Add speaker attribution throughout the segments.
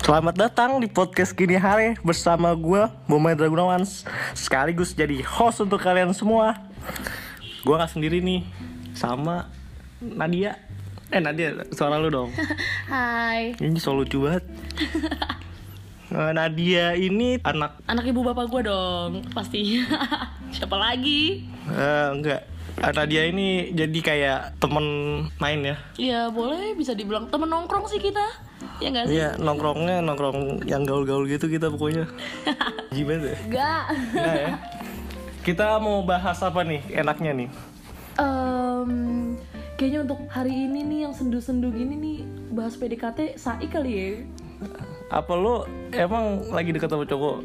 Speaker 1: Selamat datang di podcast Kini Hari bersama gue, Bomai Dragunawan Sekaligus jadi host untuk kalian semua Gue gak sendiri nih, sama Nadia Eh Nadia, suara lu dong
Speaker 2: Hai,
Speaker 1: Ini so lucu banget Eh, Nadia ini anak,
Speaker 2: anak ibu bapak gue dong, pasti. Siapa lagi?
Speaker 1: eh, enggak Eh, Nadia ini jadi kayak temen main ya
Speaker 2: Ya boleh, bisa dibilang temen nongkrong sih kita. Ya nggak sih?
Speaker 1: Iya, nongkrongnya nongkrong yang gaul-gaul gitu kita pokoknya Gimana ya?
Speaker 2: Nggak.
Speaker 1: Nah ya. Kita mau bahas apa nih enaknya nih?
Speaker 2: Em, kayaknya untuk hari ini nih yang sendu-sendu gini nih bahas PDKT sai kali ya.
Speaker 1: Apa lu emang lagi deket sama cowok?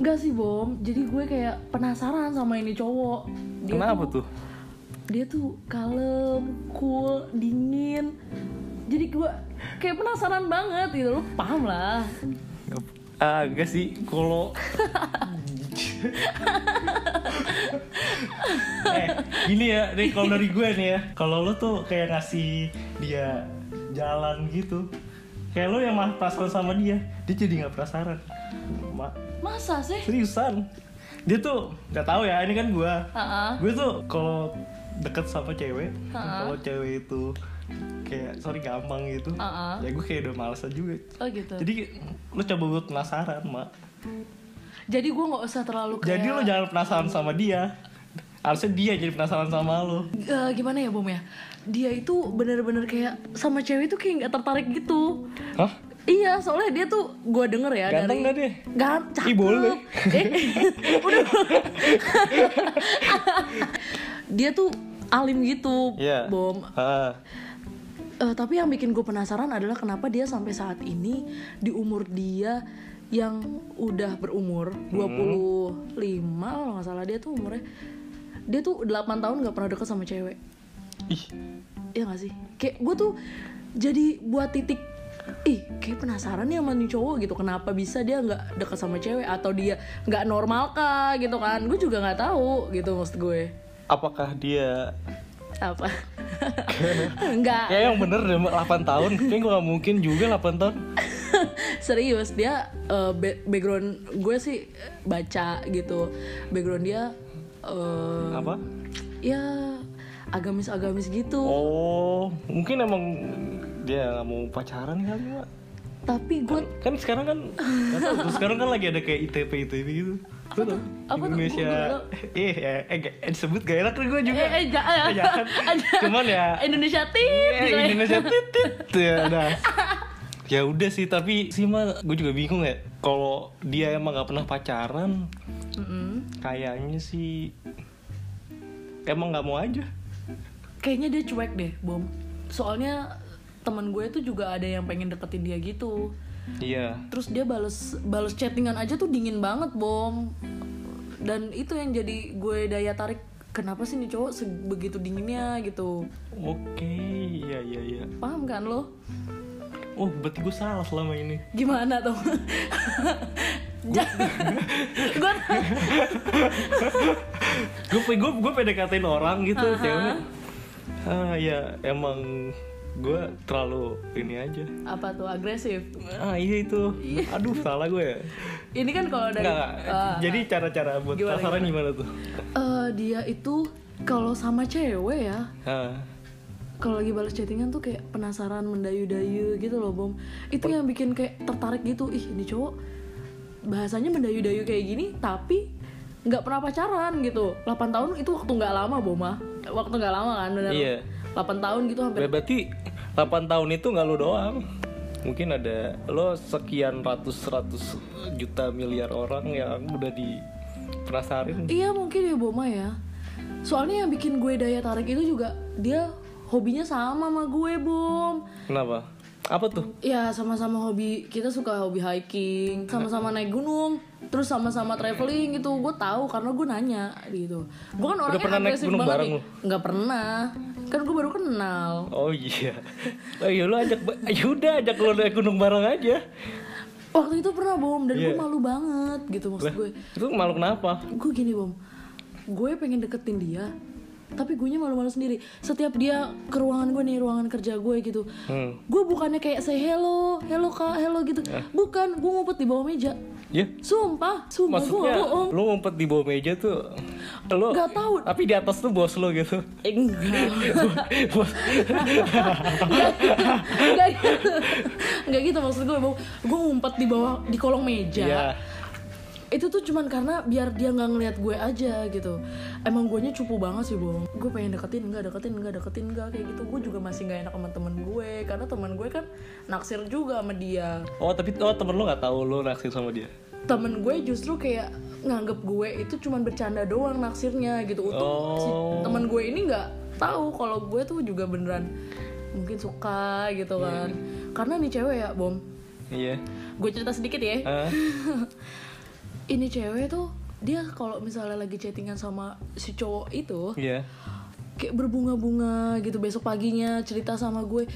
Speaker 2: Enggak sih Bom, jadi gue kayak penasaran sama ini cowok. Dia
Speaker 1: Kenapa
Speaker 2: tuh,
Speaker 1: tuh?
Speaker 2: Dia tuh kalem, cool, dingin. Jadi gue kayak penasaran banget gitu, lo paham lah.
Speaker 1: Ah, enggak sih, kalau eh, gini ya, nih kalau dari gue nih ya, kalau lu tuh kayak ngasih dia jalan gitu, kayak lu yang mah perasaan sama dia, dia jadi nggak penasaran. Ma-
Speaker 2: Masa sih?
Speaker 1: seriusan, dia tuh nggak tahu ya, ini kan gue,
Speaker 2: Heeh.
Speaker 1: gue tuh kalau deket sama cewek
Speaker 2: Ha-ha.
Speaker 1: kalau cewek itu kayak sorry gampang gitu
Speaker 2: Ha-ha.
Speaker 1: ya gue kayak udah malesan juga
Speaker 2: Oh gitu. Jadi,
Speaker 1: jadi lu coba buat penasaran mak
Speaker 2: gue nggak usah terlalu kayak.
Speaker 1: jadi lu jangan penasaran sama dia harusnya dia jadi penasaran sama lu
Speaker 2: Eh, gimana ya Bom ya? Dia itu bener-bener kayak sama cewek itu kayak nggak tertarik gitu.
Speaker 1: hah
Speaker 2: Iya, soalnya dia tuh gue denger ya
Speaker 1: Ganteng
Speaker 2: dari.
Speaker 1: nggak dia?
Speaker 2: Gan-
Speaker 1: Ih,
Speaker 2: cakep.
Speaker 1: boleh.
Speaker 2: Eh, udah. dia tuh alim gitu,
Speaker 1: Iya.
Speaker 2: Bom.
Speaker 1: Ah.
Speaker 2: Eh, tapi yang bikin gue penasaran adalah kenapa dia sampai saat ini di umur dia yang udah berumur 25 kalau nggak salah dia tuh umurnya dia tuh 8 tahun nggak pernah deket sama cewek
Speaker 1: ih
Speaker 2: ya nggak sih kayak gue tuh jadi buat titik ih kayak penasaran nih sama nih cowok gitu kenapa bisa dia nggak deket sama cewek atau dia nggak normal kah gitu kan gue juga nggak tahu gitu maksud gue
Speaker 1: apakah dia
Speaker 2: apa nggak
Speaker 1: ya yang bener deh Mak, 8 tahun kayaknya gue gak mungkin juga 8 tahun
Speaker 2: serius dia eh, ba- background gue sih eh, baca gitu background dia eh,
Speaker 1: apa
Speaker 2: ya agamis-agamis gitu
Speaker 1: oh mungkin emang dia gak mau pacaran kali mak
Speaker 2: tapi gue
Speaker 1: kan sekarang kan nggak tahu, terus sekarang kan lagi ada kayak ITP ITP gitu Lu tau?
Speaker 2: Apa tuh?
Speaker 1: Indonesia
Speaker 2: Gua nggak
Speaker 1: eh eh, eh gak- eh, disebut gak enak nih gue juga
Speaker 2: eh, eh jangan,
Speaker 1: Eh, jangan. cuman ya
Speaker 2: Indonesia tip
Speaker 1: eh,
Speaker 2: gitu ya.
Speaker 1: Indonesia titit ya udah ya udah sih tapi sih mah gue juga bingung ya kalau dia emang nggak pernah pacaran
Speaker 2: Mm-mm.
Speaker 1: kayaknya sih emang nggak mau aja
Speaker 2: kayaknya dia cuek deh bom soalnya teman gue tuh juga ada yang pengen deketin dia gitu
Speaker 1: iya
Speaker 2: terus dia bales bales chattingan aja tuh dingin banget bom dan itu yang jadi gue daya tarik kenapa sih nih cowok sebegitu dinginnya gitu
Speaker 1: oke iya iya iya
Speaker 2: paham kan lo
Speaker 1: oh berarti gue salah selama ini
Speaker 2: gimana tuh gue
Speaker 1: gue gue gue PDKT-in orang gitu cewek ah ya emang gue terlalu ini aja
Speaker 2: apa tuh agresif
Speaker 1: ah iya itu aduh salah gue ya
Speaker 2: ini kan kalau dari
Speaker 1: Nggak, nggak.
Speaker 2: Ah.
Speaker 1: jadi cara-cara buat
Speaker 2: Gimana,
Speaker 1: sasaran gimana, tuh
Speaker 2: Eh, dia itu kalau sama cewek ya
Speaker 1: ah
Speaker 2: kalau lagi balas chattingan tuh kayak penasaran mendayu-dayu gitu loh bom itu yang bikin kayak tertarik gitu ih ini cowok bahasanya mendayu-dayu kayak gini tapi nggak pernah pacaran gitu 8 tahun itu waktu nggak lama boma waktu nggak lama kan benar
Speaker 1: Iya. Ya,
Speaker 2: 8 tahun gitu hampir
Speaker 1: berarti 8 tahun itu nggak lo doang mungkin ada lo sekian ratus ratus juta miliar orang yang udah di penasarin
Speaker 2: iya mungkin ya boma ya soalnya yang bikin gue daya tarik itu juga dia hobinya sama sama gue bom
Speaker 1: kenapa apa tuh
Speaker 2: Ya sama-sama hobi kita suka hobi hiking, sama-sama naik gunung, terus sama-sama traveling gitu. Gue tahu karena gue nanya gitu. Gue kan orangnya
Speaker 1: pernah naik
Speaker 2: agresif
Speaker 1: gunung
Speaker 2: banget
Speaker 1: bareng
Speaker 2: nih. Nggak pernah. Kan gue baru kenal.
Speaker 1: Oh iya, oh iya lo ajak, ya udah ajak lo naik gunung bareng aja.
Speaker 2: Waktu itu pernah bom dan gue
Speaker 1: Iya.
Speaker 2: malu banget gitu maksud gue.
Speaker 1: Itu malu kenapa?
Speaker 2: Gue gini bom, gue pengen deketin dia, tapi gue malu-malu sendiri setiap dia ke ruangan gue nih ruangan kerja gue gitu
Speaker 1: Hmm.
Speaker 2: gue bukannya kayak say hello hello kak hello gitu bukan gue ngumpet di bawah meja
Speaker 1: Ya,
Speaker 2: sumpah sumpah gue
Speaker 1: maksudnya
Speaker 2: nggak bohong
Speaker 1: lu ngumpet di bawah meja tuh lu
Speaker 2: Nggak tahu.
Speaker 1: Tapi di atas tuh bos lu gitu.
Speaker 2: enggak
Speaker 1: bos.
Speaker 2: enggak gitu enggak gitu maksud gue bahwa gue ngumpet di bawah di kolong meja
Speaker 1: Iya.
Speaker 2: itu tuh cuman karena biar dia nggak ngeliat gue aja gitu emang gue cupu banget sih bohong gue pengen deketin nggak deketin nggak deketin nggak kayak gitu gue juga masih nggak enak sama temen gue karena temen gue kan naksir juga sama dia
Speaker 1: Oh, tapi oh, temen lu nggak tahu lu naksir sama dia.
Speaker 2: temen gue justru kayak nganggep gue itu cuman bercanda doang naksirnya gitu untung si
Speaker 1: Oh.
Speaker 2: temen gue ini nggak tahu kalau gue tuh juga beneran mungkin suka gitu kan karena nih cewek ya bom
Speaker 1: Iya.
Speaker 2: gue cerita sedikit ya
Speaker 1: Ah,
Speaker 2: ini cewek tuh dia kalau misalnya lagi chattingan sama si cowok itu
Speaker 1: iya.
Speaker 2: kayak berbunga-bunga gitu besok paginya cerita sama gue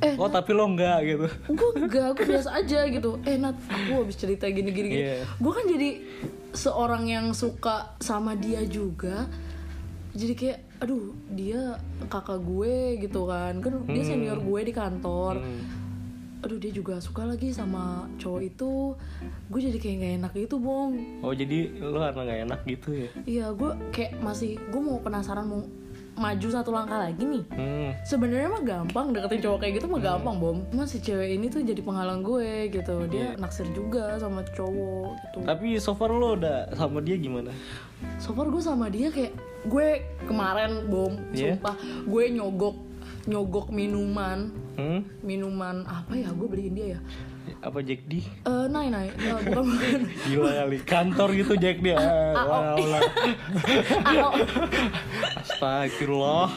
Speaker 2: eh
Speaker 1: Oh, tapi lo enggak gitu.
Speaker 2: gue gak gue biasa aja gitu eh Nat aku habis cerita gini gini, gini.
Speaker 1: Iya.
Speaker 2: gue kan jadi seorang yang suka sama dia juga jadi kayak aduh dia kakak gue gitu kan kan dia senior gue di kantor aduh dia juga suka lagi sama cowok itu gue jadi kayak nggak enak gitu bom
Speaker 1: Oh, jadi lu karena nggak enak gitu ya.
Speaker 2: iya gue kayak masih gue mau penasaran mau maju satu langkah lagi nih
Speaker 1: Hmm.
Speaker 2: sebenarnya mah gampang deketin cowok kayak gitu mah gampang bom Cuman si cewek ini tuh jadi penghalang gue gitu dia
Speaker 1: Iya.
Speaker 2: naksir juga sama cowok gitu
Speaker 1: Tapi so far lo udah sama dia gimana?
Speaker 2: so far gue sama dia kayak gue kemarin bom
Speaker 1: Iya.
Speaker 2: sumpah gue nyogok nyogok minuman
Speaker 1: Hmm?
Speaker 2: minuman apa ya gue beliin dia ya
Speaker 1: Apa Jack D?
Speaker 2: Eh, naik naik Eh, bukan bukan
Speaker 1: Gila kali, kantor gitu Jack dia.
Speaker 2: ah,
Speaker 1: Wah,
Speaker 2: oh.
Speaker 1: wah.
Speaker 2: Ah, oh.
Speaker 1: Astagfirullah.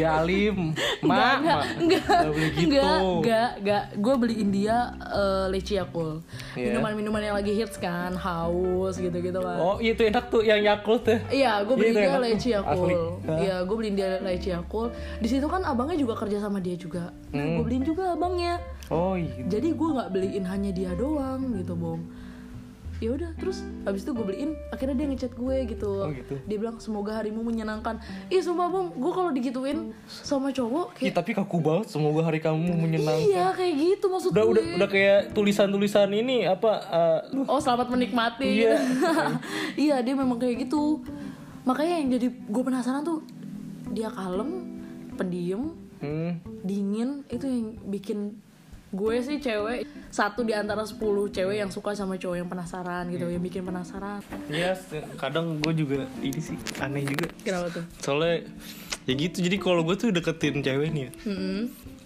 Speaker 1: Dia alim. Mak,
Speaker 2: Enggak,
Speaker 1: mak.
Speaker 2: enggak,
Speaker 1: Nggak boleh gitu.
Speaker 2: enggak, enggak, enggak. Gue beliin dia eh, leci Yakult.
Speaker 1: Iya.
Speaker 2: Minuman-minuman yang lagi hits kan, haus gitu-gitu kan.
Speaker 1: Oh, itu enak tuh yang Yakult ya.
Speaker 2: Iya, gue
Speaker 1: Iya,
Speaker 2: beliin
Speaker 1: itu
Speaker 2: dia
Speaker 1: enak tuh,
Speaker 2: leci
Speaker 1: asli.
Speaker 2: Yakult.
Speaker 1: Hah?
Speaker 2: Iya, gue beliin dia leci Yakult. Di situ kan abangnya juga kerja sama dia juga. Nah, gue
Speaker 1: Hmm.
Speaker 2: beliin juga abangnya.
Speaker 1: Oh, iya.
Speaker 2: Jadi gue nggak beliin hanya dia doang gitu, Bom. Ya udah, terus habis itu gue beliin, akhirnya dia ngechat gue gitu.
Speaker 1: Oh, gitu.
Speaker 2: Dia bilang semoga harimu menyenangkan. Ih, sumpah, Bom, gue kalau digituin sama cowok
Speaker 1: Ih,
Speaker 2: kayak
Speaker 1: tapi kaku banget. Semoga hari kamu menyenangkan.
Speaker 2: Iya, kayak gitu maksud
Speaker 1: Udah,
Speaker 2: gue.
Speaker 1: udah, udah kayak tulisan-tulisan ini apa? eh, lu-
Speaker 2: Oh selamat menikmati.
Speaker 1: Iya.
Speaker 2: iya dia memang kayak gitu. Makanya yang jadi gue penasaran tuh dia kalem, pendiam,
Speaker 1: hmm.
Speaker 2: dingin itu yang bikin gue sih cewek satu di antara 10 cewek yang suka sama cowok yang penasaran gitu yang bikin penasaran.
Speaker 1: Iya, kadang gue juga ini sih aneh juga.
Speaker 2: Kenapa tuh?
Speaker 1: Soalnya ya gitu. Jadi kalau gue tuh deketin cewek nih, ya.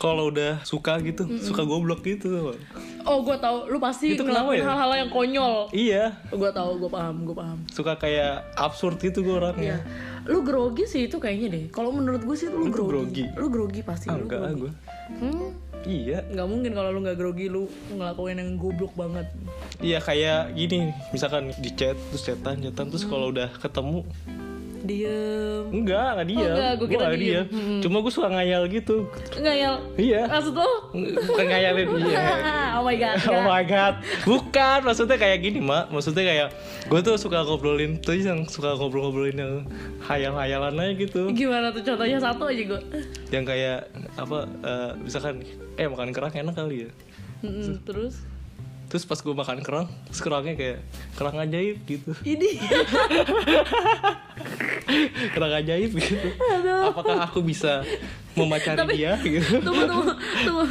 Speaker 1: kalau udah suka gitu, suka goblok gitu.
Speaker 2: Oh gue tahu lu pasti
Speaker 1: Itu kenapa
Speaker 2: ngelakuin
Speaker 1: ya?
Speaker 2: hal-hal yang konyol.
Speaker 1: Iya,
Speaker 2: Gue tahu gue paham gue paham.
Speaker 1: suka kayak absurd gitu gue
Speaker 2: Iya.
Speaker 1: orangnya.
Speaker 2: Lu grogi sih itu kayaknya deh. Kalau menurut gue sih lu,
Speaker 1: Lu tuh grogi.
Speaker 2: grogi. Lu grogi pasti.
Speaker 1: Ah,
Speaker 2: lu
Speaker 1: enggak ah,
Speaker 2: grogi.
Speaker 1: gue.
Speaker 2: Hmm,
Speaker 1: Iya,
Speaker 2: nggak mungkin kalau lu nggak grogi lu ngelakuin yang goblok banget
Speaker 1: iya kayak gini, misalkan di chat terus chatan, chatan terus kalau udah ketemu
Speaker 2: diem
Speaker 1: enggak, enggak dia.
Speaker 2: Oh, enggak, gua kira diem.
Speaker 1: Cuma gue suka ngayal gitu.
Speaker 2: ngayal
Speaker 1: Iya.
Speaker 2: maksud lu
Speaker 1: Bukan ngayalin iya.
Speaker 2: oh my god
Speaker 1: Oh
Speaker 2: enggak.
Speaker 1: my god, bukan maksudnya kayak gini mak, maksudnya kayak gue tuh suka ngobrolin tuh yang suka ngobrol-ngobrolin yang hayal-hayalan aja gitu,
Speaker 2: gimana tuh contohnya satu aja gue
Speaker 1: yang kayak apa, eh, misalkan eh makan kerang enak kali ya,
Speaker 2: terus
Speaker 1: terus pas gue makan kerang, terus kerangnya kayak kerang ajaib gitu,
Speaker 2: ini
Speaker 1: kerang ajaib gitu, apakah aku bisa memacari
Speaker 2: Tapi-
Speaker 1: dia gitu?
Speaker 2: tunggu tunggu tunggu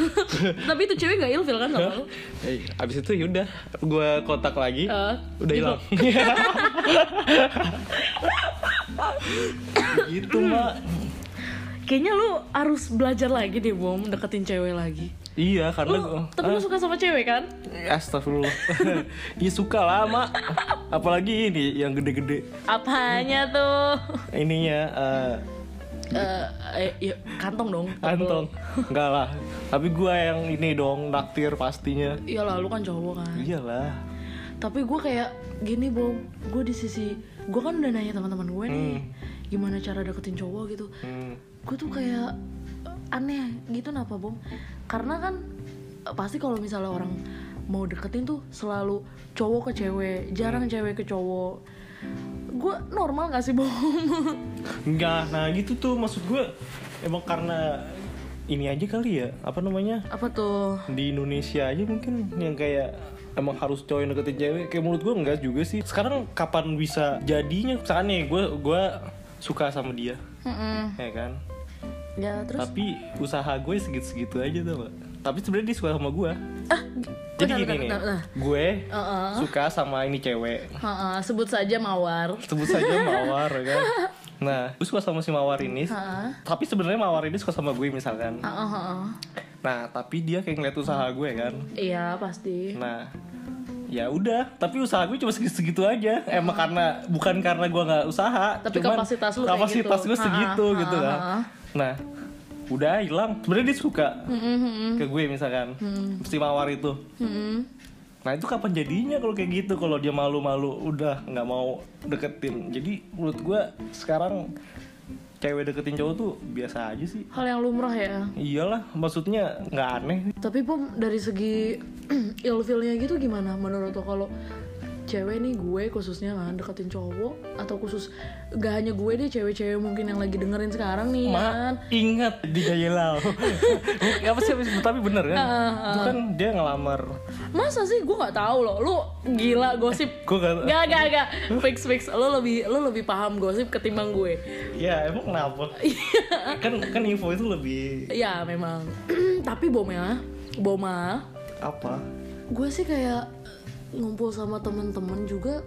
Speaker 2: tapi itu cewek nggak ilfil kan sama lu
Speaker 1: Eh, abis itu yaudah, gue kotak lagi,
Speaker 2: Eh,
Speaker 1: udah hilang. gitu mak.
Speaker 2: kayaknya lu harus belajar lagi deh bom deketin cewek lagi
Speaker 1: Iya karena
Speaker 2: lu
Speaker 1: gua-
Speaker 2: tapi lu suka sama cewek kan
Speaker 1: Ah, Astagfirullah Iya suka lah mak Apalagi ini yang gede-gede
Speaker 2: apanya tuh
Speaker 1: Ininya eh,
Speaker 2: Eh, eh, ya, kantong dong
Speaker 1: Antong Enggak lah Tapi gua yang ini dong Naktir pastinya
Speaker 2: iyalah lu kan cowok kan
Speaker 1: Iyalah
Speaker 2: tapi gue kayak gini bom gue di sisi gue kan udah nanya teman-teman gue nih gimana cara deketin cowok gitu
Speaker 1: hmm.
Speaker 2: gue tuh kayak eh, aneh gitu kenapa bom karena kan eh, pasti kalau misalnya orang
Speaker 1: Hmm.
Speaker 2: mau deketin tuh selalu cowok ke cewek jarang cewek ke cowok gue normal gak sih bohong
Speaker 1: Enggak, nah gitu tuh maksud gue emang karena ini aja kali ya, apa namanya?
Speaker 2: apa tuh
Speaker 1: Di Indonesia aja mungkin yang kayak emang harus cowok yang deketin cewek kayak menurut gue enggak juga sih. Sekarang kapan bisa jadinya? Misalkan nih gue gue suka sama dia,
Speaker 2: Mm-mm.
Speaker 1: ya kan?
Speaker 2: ya terus
Speaker 1: Tapi usaha gue segitu-segitu aja tuh, Pak. Tapi sebenarnya dia suka sama gue.
Speaker 2: ah
Speaker 1: Jadi gini
Speaker 2: bentar, bentar,
Speaker 1: nih,
Speaker 2: bentar, bentar.
Speaker 1: gue
Speaker 2: Uh-uh.
Speaker 1: suka sama ini cewek.
Speaker 2: Ha-ha, sebut saja mawar
Speaker 1: sebut saja mawar ya kan nah gue suka sama si mawar ini
Speaker 2: Ha-ha.
Speaker 1: tapi sebenarnya mawar ini suka sama gue misalkan
Speaker 2: Ha-ha, ha-ha.
Speaker 1: nah tapi dia kayak ngeliat usaha gue kan
Speaker 2: iya pasti
Speaker 1: nah ya udah tapi usaha gue cuma segitu, segitu aja emang karena bukan karena gue nggak usaha
Speaker 2: Tapi
Speaker 1: cuman
Speaker 2: kapasitas lu kayak
Speaker 1: kapasitas
Speaker 2: gitu.
Speaker 1: gue segitu
Speaker 2: Ha-ha,
Speaker 1: gitu kan
Speaker 2: ha-ha.
Speaker 1: nah udah hilang sebenarnya dia suka
Speaker 2: Hmm.
Speaker 1: ke gue misalkan si mawar itu
Speaker 2: Mm-mm.
Speaker 1: Nah itu kapan jadinya kalau kayak gitu kalau dia malu-malu udah nggak mau deketin. Jadi menurut gua sekarang cewek deketin cowok tuh biasa aja sih.
Speaker 2: hal yang lumrah ya
Speaker 1: Iyalah maksudnya nggak aneh.
Speaker 2: Tapi Pom dari segi ilfilnya gitu gimana menurut lo kalau cewek nih gue khususnya kan deketin cowok atau khusus gak hanya gue deh cewek-cewek mungkin yang lagi dengerin
Speaker 1: Iya.
Speaker 2: sekarang nih kan
Speaker 1: Ma, ingat di Jayelau. apa sih tapi bener kan? Itu kan dia ngelamar.
Speaker 2: masa sih gue nggak tahu loh lu gila gosip
Speaker 1: Gua nggak-
Speaker 2: gak gak gak fix fix lo lebih lo lebih paham gosip ketimbang gue
Speaker 1: Ya emang kenapa?
Speaker 2: Iya.
Speaker 1: kan kan info itu lebih
Speaker 2: ya memang tapi Boma Boma
Speaker 1: apa?
Speaker 2: gue sih kayak ngumpul sama teman-teman juga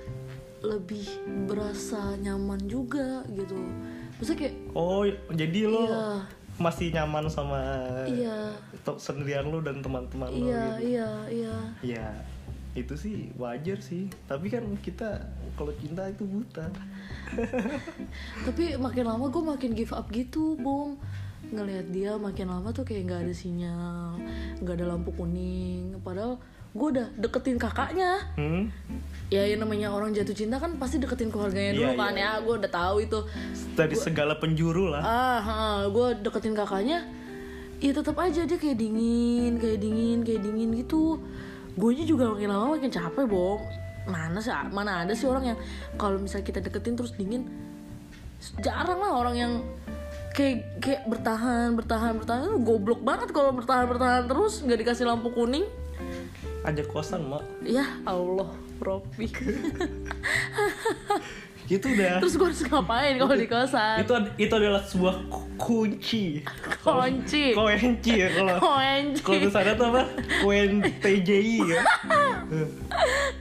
Speaker 2: lebih berasa nyaman juga gitu maksudnya kayak
Speaker 1: Oh jadi lo
Speaker 2: Iya.
Speaker 1: masih nyaman sama
Speaker 2: iya
Speaker 1: to- sendirian lo dan teman-teman lo gitu.
Speaker 2: iya iya iya
Speaker 1: Ya itu sih wajar sih Tapi kan kita kalau cinta itu buta
Speaker 2: tapi makin lama gue makin give up gitu bom ngelihat dia makin lama tuh kayak nggak ada sinyal nggak ada lampu kuning padahal gue udah deketin kakaknya
Speaker 1: hmm?
Speaker 2: ya yang namanya orang jatuh cinta kan pasti deketin keluarganya
Speaker 1: Iya,
Speaker 2: dulu kan
Speaker 1: iya.
Speaker 2: ya gue udah tahu itu
Speaker 1: Dari segala penjuru lah
Speaker 2: ah gue deketin kakaknya ya tetap aja dia kayak dingin kayak dingin kayak dingin gitu gue juga makin lama makin capek bom mana sih mana ada sih orang yang kalau misalnya kita deketin terus dingin jarang lah orang yang kayak kayak bertahan bertahan bertahan Lu goblok banget kalau bertahan bertahan terus nggak dikasih lampu kuning
Speaker 1: Ajak kosan mak
Speaker 2: ya Allah Robi
Speaker 1: Itu udah
Speaker 2: terus gue harus ngapain kalau di kosan
Speaker 1: itu ad- itu adalah sebuah ku- kunci
Speaker 2: kunci
Speaker 1: Kunci ya kalau kalau
Speaker 2: kunci
Speaker 1: di sana tuh apa? Kuen TJI ya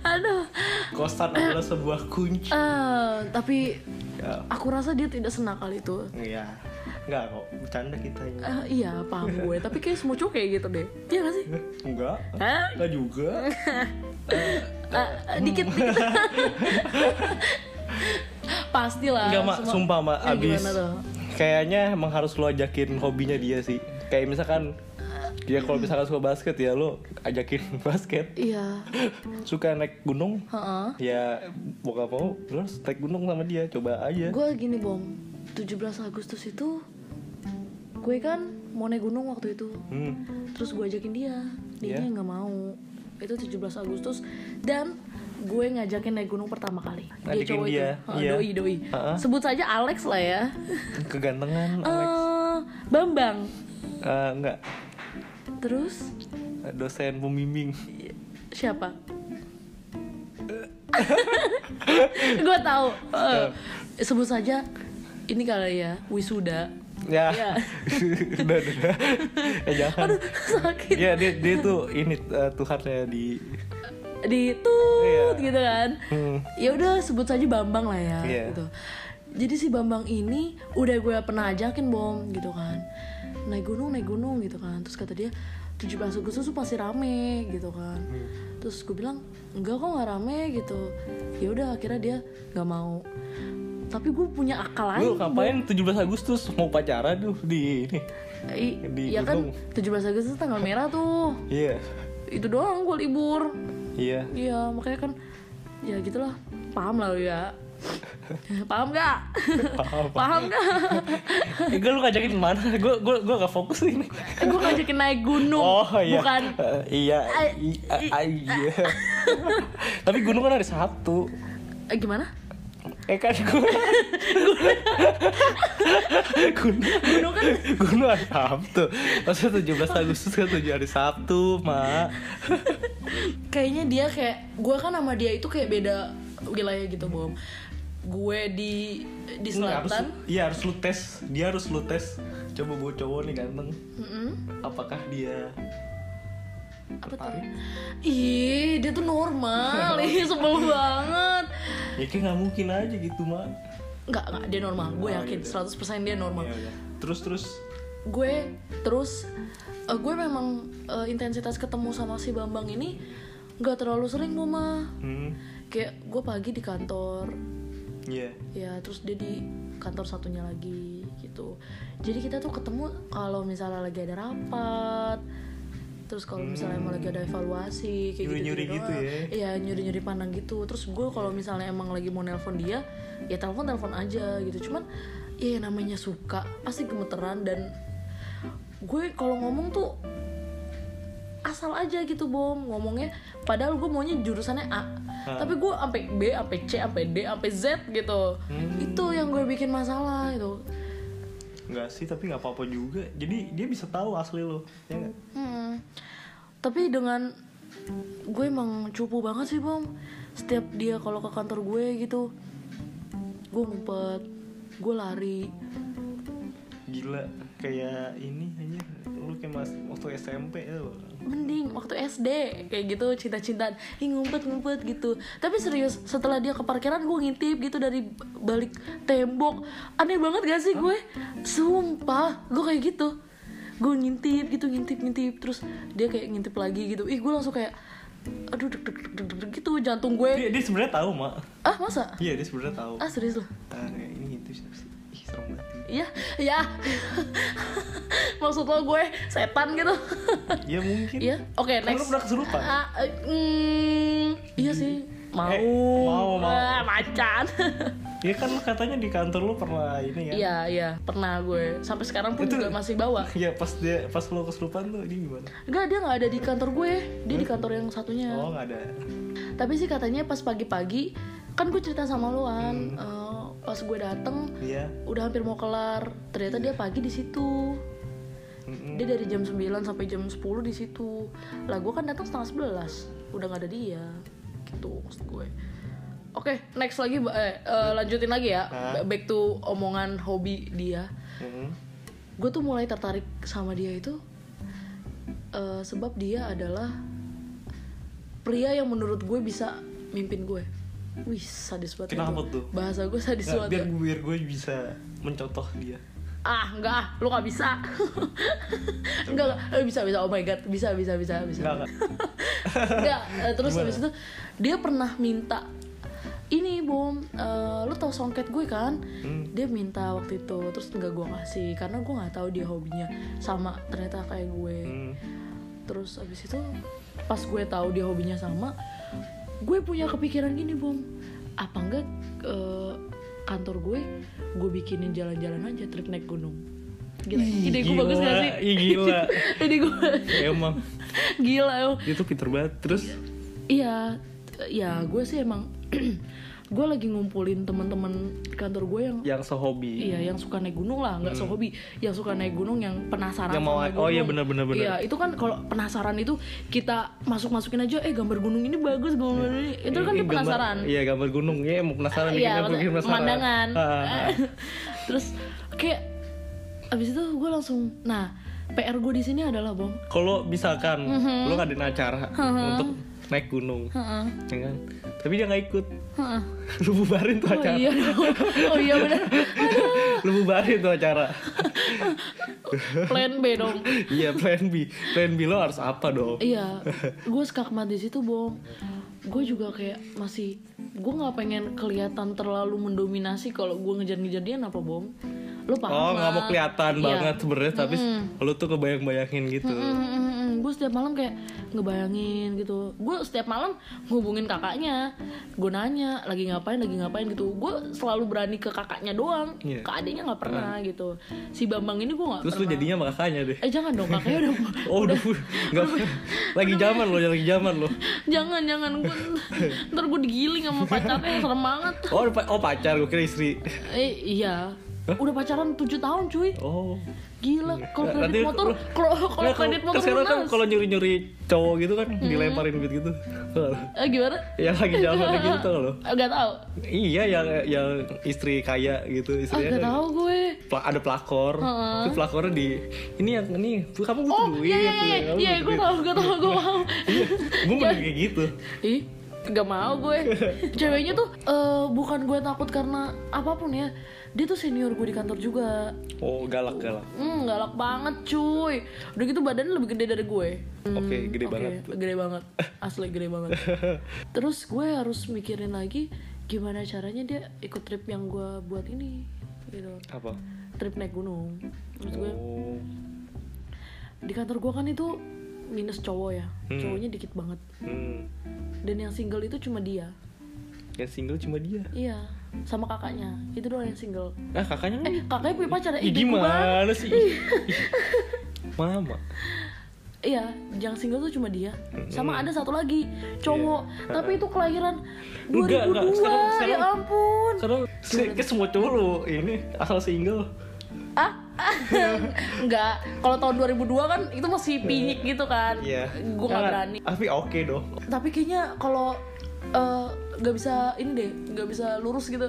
Speaker 2: aduh
Speaker 1: Kosan adalah sebuah kunci
Speaker 2: Eh, tapi
Speaker 1: Ya,
Speaker 2: aku rasa dia tidak senakal itu.
Speaker 1: ya. Enggak kok, bercanda kita ini
Speaker 2: Eh, iya, paham gue. Tapi kayak semua cowok kayak gitu deh. Iya gak sih?
Speaker 1: Enggak,
Speaker 2: Hah?
Speaker 1: enggak juga
Speaker 2: Eh, eh, dikit, dikit. Pastilah.
Speaker 1: Enggak mak,
Speaker 2: semua-
Speaker 1: sumpah mak,
Speaker 2: Ya,
Speaker 1: abis
Speaker 2: gimana tuh?
Speaker 1: Kayaknya emang harus lo ajakin hobinya dia sih Kayak misalkan dia kalau misalkan suka basket ya lo ajakin basket
Speaker 2: Iya.
Speaker 1: Suka naik gunung
Speaker 2: Heeh.
Speaker 1: Ya mau gak mau lo harus naik gunung sama dia, coba aja
Speaker 2: Gue gini, Bom. 17 Agustus itu gue kan mau naik gunung waktu itu.
Speaker 1: hmm.
Speaker 2: Terus gue ajakin dia. Dia
Speaker 1: Iya.
Speaker 2: nggak mau. Itu 17 Agustus dan gue ngajakin naik gunung pertama kali.
Speaker 1: Ngajakin
Speaker 2: cowok itu.
Speaker 1: dia,
Speaker 2: Heeh,
Speaker 1: iya.
Speaker 2: Doi, doi.
Speaker 1: Heeh.
Speaker 2: Sebut saja Alex lah ya.
Speaker 1: Kegantengan Alex
Speaker 2: eh Bambang
Speaker 1: Eh, Enggak,
Speaker 2: terus
Speaker 1: dosen pembimbing
Speaker 2: siapa gue tahu Eh, sebut saja ini kali ya wisuda
Speaker 1: Ya,
Speaker 2: Iya.
Speaker 1: udah, udah Ya jangan
Speaker 2: aduh sakit
Speaker 1: Ya dia, dia tuh ini eh, Tuhannya di
Speaker 2: di tut
Speaker 1: Iya.
Speaker 2: gitu kan
Speaker 1: Hmm.
Speaker 2: ya udah sebut saja Bambang lah ya
Speaker 1: Iya.
Speaker 2: gitu jadi si Bambang ini udah gue pernah ajakin bom gitu kan naik gunung naik gunung gitu kan terus kata dia 17 Agustus tuh pasti rame gitu kan
Speaker 1: Hmm.
Speaker 2: terus gue bilang enggak kok nggak rame gitu ya udah akhirnya dia nggak mau tapi gue punya akal
Speaker 1: Lu
Speaker 2: lain
Speaker 1: ngapain 17 Agustus mau pacaran tuh di ini
Speaker 2: I-
Speaker 1: di
Speaker 2: ya kan
Speaker 1: gunung?
Speaker 2: 17 Agustus tanggal merah tuh
Speaker 1: Iya
Speaker 2: itu doang gue libur
Speaker 1: Iya
Speaker 2: Iya, makanya kan ya gitulah. Paham lah lu ya. Paham gak?
Speaker 1: Paham.
Speaker 2: Paham gak?
Speaker 1: Eh, gue lu ngajakin kemana? Gue gue gue gak fokus ini.
Speaker 2: gue Eh, ngajakin naik gunung,
Speaker 1: Oh iya.
Speaker 2: bukan
Speaker 1: Eh, iya.
Speaker 2: Ai-
Speaker 1: i- a- a- iya. Tapi gunung kan ada satu.
Speaker 2: eh, gimana?
Speaker 1: Eh kan gue Gunung
Speaker 2: Gunung kan
Speaker 1: Gunung hari Sabtu Maksudnya 17 Agustus kan 7 hari Sabtu Mak
Speaker 2: kayaknya dia kayak gue kan sama dia itu kayak beda wilayah gitu bom gue di di
Speaker 1: Nggak, harus,
Speaker 2: selatan
Speaker 1: Iya harus lu tes Dia harus lu tes Coba gue cowok nih ganteng
Speaker 2: Mm-mm.
Speaker 1: Apakah dia
Speaker 2: apa tuh
Speaker 1: tertarik?
Speaker 2: ih dia tuh normal ih sebel banget
Speaker 1: Ya kayak gak mungkin aja gitu Mak
Speaker 2: Iya, nggak nggak dia normal gue
Speaker 1: Oh,
Speaker 2: yakin
Speaker 1: gitu.
Speaker 2: 100% dia normal
Speaker 1: Ya udah. Terus-terus
Speaker 2: gue
Speaker 1: Hmm.
Speaker 2: terus eh, gue memang eh, intensitas ketemu sama si bambang ini nggak terlalu sering mama
Speaker 1: Hmm
Speaker 2: kayak gue pagi di kantor
Speaker 1: Iya
Speaker 2: ya terus dia di kantor satunya lagi gitu jadi kita tuh ketemu kalau misalnya lagi ada rapat terus kalau misalnya emang lagi ada evaluasi kayak
Speaker 1: Hmm. Nyuri-nyuri gitu
Speaker 2: doang.
Speaker 1: ya?
Speaker 2: iya nyuri nyuri pandang gitu terus gue kalau misalnya emang lagi mau nelpon dia ya telepon telepon aja gitu cuman ya namanya suka pasti gemeteran dan gue kalau ngomong tuh asal aja gitu bom ngomongnya padahal gue maunya jurusannya A tapi gue sampai B sampai C sampai D sampai Z gitu itu yang gue bikin masalah gitu. itu
Speaker 1: Enggak sih tapi gak apa-apa juga Jadi dia bisa tahu asli lo Ya nggak?
Speaker 2: Hmm. tapi dengan gue emang cupu banget sih bom setiap dia kalau ke kantor gue gitu gue ngumpet gue lari
Speaker 1: Gila Kayak ini aja Lu kayak mas, waktu SMP ya lo
Speaker 2: mending waktu SD kayak gitu cinta-cintaan ih ngumpet-ngumpet gitu tapi serius setelah dia ke parkiran gue ngintip gitu dari balik tembok aneh banget gak sih gue sumpah gue kayak gitu gue ngintip gitu ngintip ngintip terus dia kayak ngintip lagi gitu ih gue langsung kayak aduh deg deg deg deg deg gitu jantung gue
Speaker 1: Dia, dia sebenarnya tahu Mak
Speaker 2: ah masa
Speaker 1: Iya dia sebenarnya tahu
Speaker 2: ah serius loh
Speaker 1: Ah, kayak ini itu siapa sih? Ih, serem banget.
Speaker 2: iya iya maksud lo gue setan gitu
Speaker 1: Ya mungkin.
Speaker 2: iya
Speaker 1: Kan
Speaker 2: oke next
Speaker 1: lu pernah kesurupan?
Speaker 2: Ah, eh, mm, iya sih. Mau.
Speaker 1: Eh, mau, mau.
Speaker 2: Ah, macan.
Speaker 1: Ya kan lu katanya di kantor lu pernah ini kan?
Speaker 2: Iya, iya. Pernah gue. Sampai sekarang pun
Speaker 1: Itu-
Speaker 2: juga masih bawa.
Speaker 1: Ya pas dia pas lu kesurupan tuh ini gimana?
Speaker 2: Enggak, dia nggak ada di kantor gue. Dia di kantor yang satunya.
Speaker 1: Oh, nggak ada.
Speaker 2: Tapi sih katanya pas pagi-pagi kan gue cerita sama
Speaker 1: Hmm.
Speaker 2: luan eh, pas gue dateng
Speaker 1: Iya.
Speaker 2: udah hampir mau kelar ternyata dia pagi di situ
Speaker 1: Mm-mm.
Speaker 2: dia dari jam 9 sampai jam 10 di situ lah gue kan datang setengah 11 udah nggak ada dia gitu maksud gue oke next lagi Ba- eh, eh, lanjutin lagi ya
Speaker 1: Hah?
Speaker 2: back to omongan hobi dia
Speaker 1: Mm-mm.
Speaker 2: gue tuh mulai tertarik sama dia itu eh, sebab dia adalah pria yang menurut gue bisa mimpin gue wih sadis banget
Speaker 1: Kenapa tuh?
Speaker 2: itu. bahasa gue sadis
Speaker 1: Nggak,
Speaker 2: banget ya.
Speaker 1: biar biar gue bisa mencontoh dia.
Speaker 2: ah enggak ah lu nggak bisa enggak enggak Eh, bisa bisa oh my god bisa bisa bisa bisa
Speaker 1: Enggak, enggak.
Speaker 2: enggak eh, terus
Speaker 1: Gimana?
Speaker 2: habis itu dia pernah minta ini bom eh, lu tau songket gue kan
Speaker 1: Hmm.
Speaker 2: dia minta waktu itu terus nggak gue kasih karena gue nggak tahu dia hobinya sama ternyata kayak gue
Speaker 1: Mm.
Speaker 2: terus abis itu pas gue tahu dia hobinya sama gue punya kepikiran gini bom apa enggak eh, kantor gue gue bikinin jalan-jalan aja trip naik gunung gila
Speaker 1: Ih,
Speaker 2: ide gue bagus gak
Speaker 1: gila.
Speaker 2: sih
Speaker 1: Ih, gila.
Speaker 2: ide gue
Speaker 1: Ya, Emang
Speaker 2: gila yo
Speaker 1: itu pinter banget. Terus
Speaker 2: iya t- ya gue sih emang gue lagi ngumpulin teman-teman kantor gue yang
Speaker 1: yang sehobi.
Speaker 2: Iya, yang suka naik gunung lah, nggak sehobi. Yang suka naik gunung, yang
Speaker 1: Hmm.
Speaker 2: penasaran
Speaker 1: Yang mau-
Speaker 2: sama
Speaker 1: oh
Speaker 2: gunung.
Speaker 1: iya, benar, benar, benar.
Speaker 2: Iya, itu kan kalau penasaran itu kita masuk masukin aja, eh gambar gunung ini bagus, gambar ini
Speaker 1: Iya. Ini
Speaker 2: itu kan dia
Speaker 1: gambar-
Speaker 2: penasaran.
Speaker 1: Iya, gambar gunung. Ya, emang penasaran bikin
Speaker 2: Iya,
Speaker 1: apa,
Speaker 2: maksudnya
Speaker 1: bikin penasaran.
Speaker 2: pemandangan.
Speaker 1: Ah, ah.
Speaker 2: Terus kayak abis itu gue langsung, nah PR gue di sini adalah bom.
Speaker 1: Kalau misalkan
Speaker 2: Mm-hmm.
Speaker 1: lu ngadain acara untuk naik gunung,
Speaker 2: Heeh.
Speaker 1: ya kan? Tapi dia nggak ikut.
Speaker 2: heeh.
Speaker 1: lu bubarin tuh
Speaker 2: Oh
Speaker 1: acara
Speaker 2: iya, dong. oh iya benar.
Speaker 1: lu bubarin tuh acara
Speaker 2: Plan B dong.
Speaker 1: iya plan B plan B lo harus apa dong
Speaker 2: Iya, gue skakmat di situ bom. Gue juga kayak masih, gue nggak pengen kelihatan terlalu mendominasi kalau gue ngejar-ngejar dia apa bom. Lo paham?
Speaker 1: oh nggak mau
Speaker 2: lah.
Speaker 1: kelihatan
Speaker 2: Iya.
Speaker 1: banget sebenarnya tapi lu tuh kebayang-bayangin gitu
Speaker 2: gue setiap malam kayak ngebayangin gitu gue setiap malam ngubungin kakaknya gue nanya lagi ngapain lagi ngapain gitu gue selalu berani ke kakaknya doang
Speaker 1: Iya.
Speaker 2: ke adiknya nggak pernah gitu si bambang ini gue nggak
Speaker 1: terus lu
Speaker 2: pernah
Speaker 1: jadinya sama kakaknya deh
Speaker 2: eh jangan dong kakaknya udah
Speaker 1: oh udah nggak lagi zaman lo lagi zaman lo
Speaker 2: jangan jangan gue ntar gue digiling sama pacarnya serem banget
Speaker 1: Oh, ada pa- oh pacar gue kira istri.
Speaker 2: eh iya udah pacaran 7 tahun cuy
Speaker 1: Oh.
Speaker 2: gila kalau kredit
Speaker 1: Nah, Nanti-
Speaker 2: motor kalau Oh, kalau
Speaker 1: Nah,
Speaker 2: kredit motor
Speaker 1: kan sekarang kan
Speaker 2: lunas.
Speaker 1: kalau nyuri-nyuri cowok gitu kan dilemparin duit gitu.
Speaker 2: eh, gimana
Speaker 1: yang lagi jalan gitu tau gak lo.
Speaker 2: Eh, Gak tau
Speaker 1: Iya, yang yang istri kaya gitu,
Speaker 2: ah,
Speaker 1: istrinya
Speaker 2: Gak
Speaker 1: kan
Speaker 2: tau gue
Speaker 1: pla- ada pelakor,
Speaker 2: Heeh.
Speaker 1: itu pelakornya di ini yang ini kamu butuh
Speaker 2: Oh
Speaker 1: duit,
Speaker 2: iya iya iya
Speaker 1: kamu
Speaker 2: Iya
Speaker 1: butuh
Speaker 2: gue
Speaker 1: duit.
Speaker 2: tau gue tau gue mau
Speaker 1: Iya. gue mau kayak gitu
Speaker 2: Ih, gak mau gue. Ceweknya tuh eh, bukan gue takut karena apapun ya. Dia tuh senior gue di kantor juga.
Speaker 1: oh galak galak
Speaker 2: Hmm, galak banget cuy. Udah gitu badannya lebih gede dari gue. Hmm,
Speaker 1: oke gede
Speaker 2: Oke,
Speaker 1: banget
Speaker 2: Gede banget. Asli gede banget. Terus gue harus mikirin lagi gimana caranya dia ikut trip yang gue buat ini gitu.
Speaker 1: apa
Speaker 2: Trip naik gunung. Terus gue
Speaker 1: oh
Speaker 2: di kantor gue kan itu minus cowok ya.
Speaker 1: Hmm.
Speaker 2: Cowoknya dikit banget.
Speaker 1: hmm.
Speaker 2: Dan yang single itu cuma dia.
Speaker 1: yang single cuma dia
Speaker 2: Iya, sama kakaknya. Itu doang yang single.
Speaker 1: ah kakaknya kan
Speaker 2: Eh, kakaknya punya pacar ya?
Speaker 1: Ih,
Speaker 2: Ih, bego banget.
Speaker 1: gimana sih Ih. mama
Speaker 2: Iya, yang single tuh cuma dia. Sama ada satu lagi, cowok. Tapi itu kelahiran
Speaker 1: Iya.
Speaker 2: 2002.
Speaker 1: Enggak, enggak. Sekarang-
Speaker 2: Ya
Speaker 1: sekarang-
Speaker 2: ampun.
Speaker 1: sekarang se- ke semua cowok lu ini asal single
Speaker 2: Ah, enggak. Kalau tahun 2002 kan itu masih pinyik gitu kan.
Speaker 1: Mm.
Speaker 2: Gue gak
Speaker 1: Iya. Jangan.
Speaker 2: berani.
Speaker 1: tapi oke dong
Speaker 2: Tapi kayaknya kalau eh, nggak bisa ini deh nggak bisa lurus gitu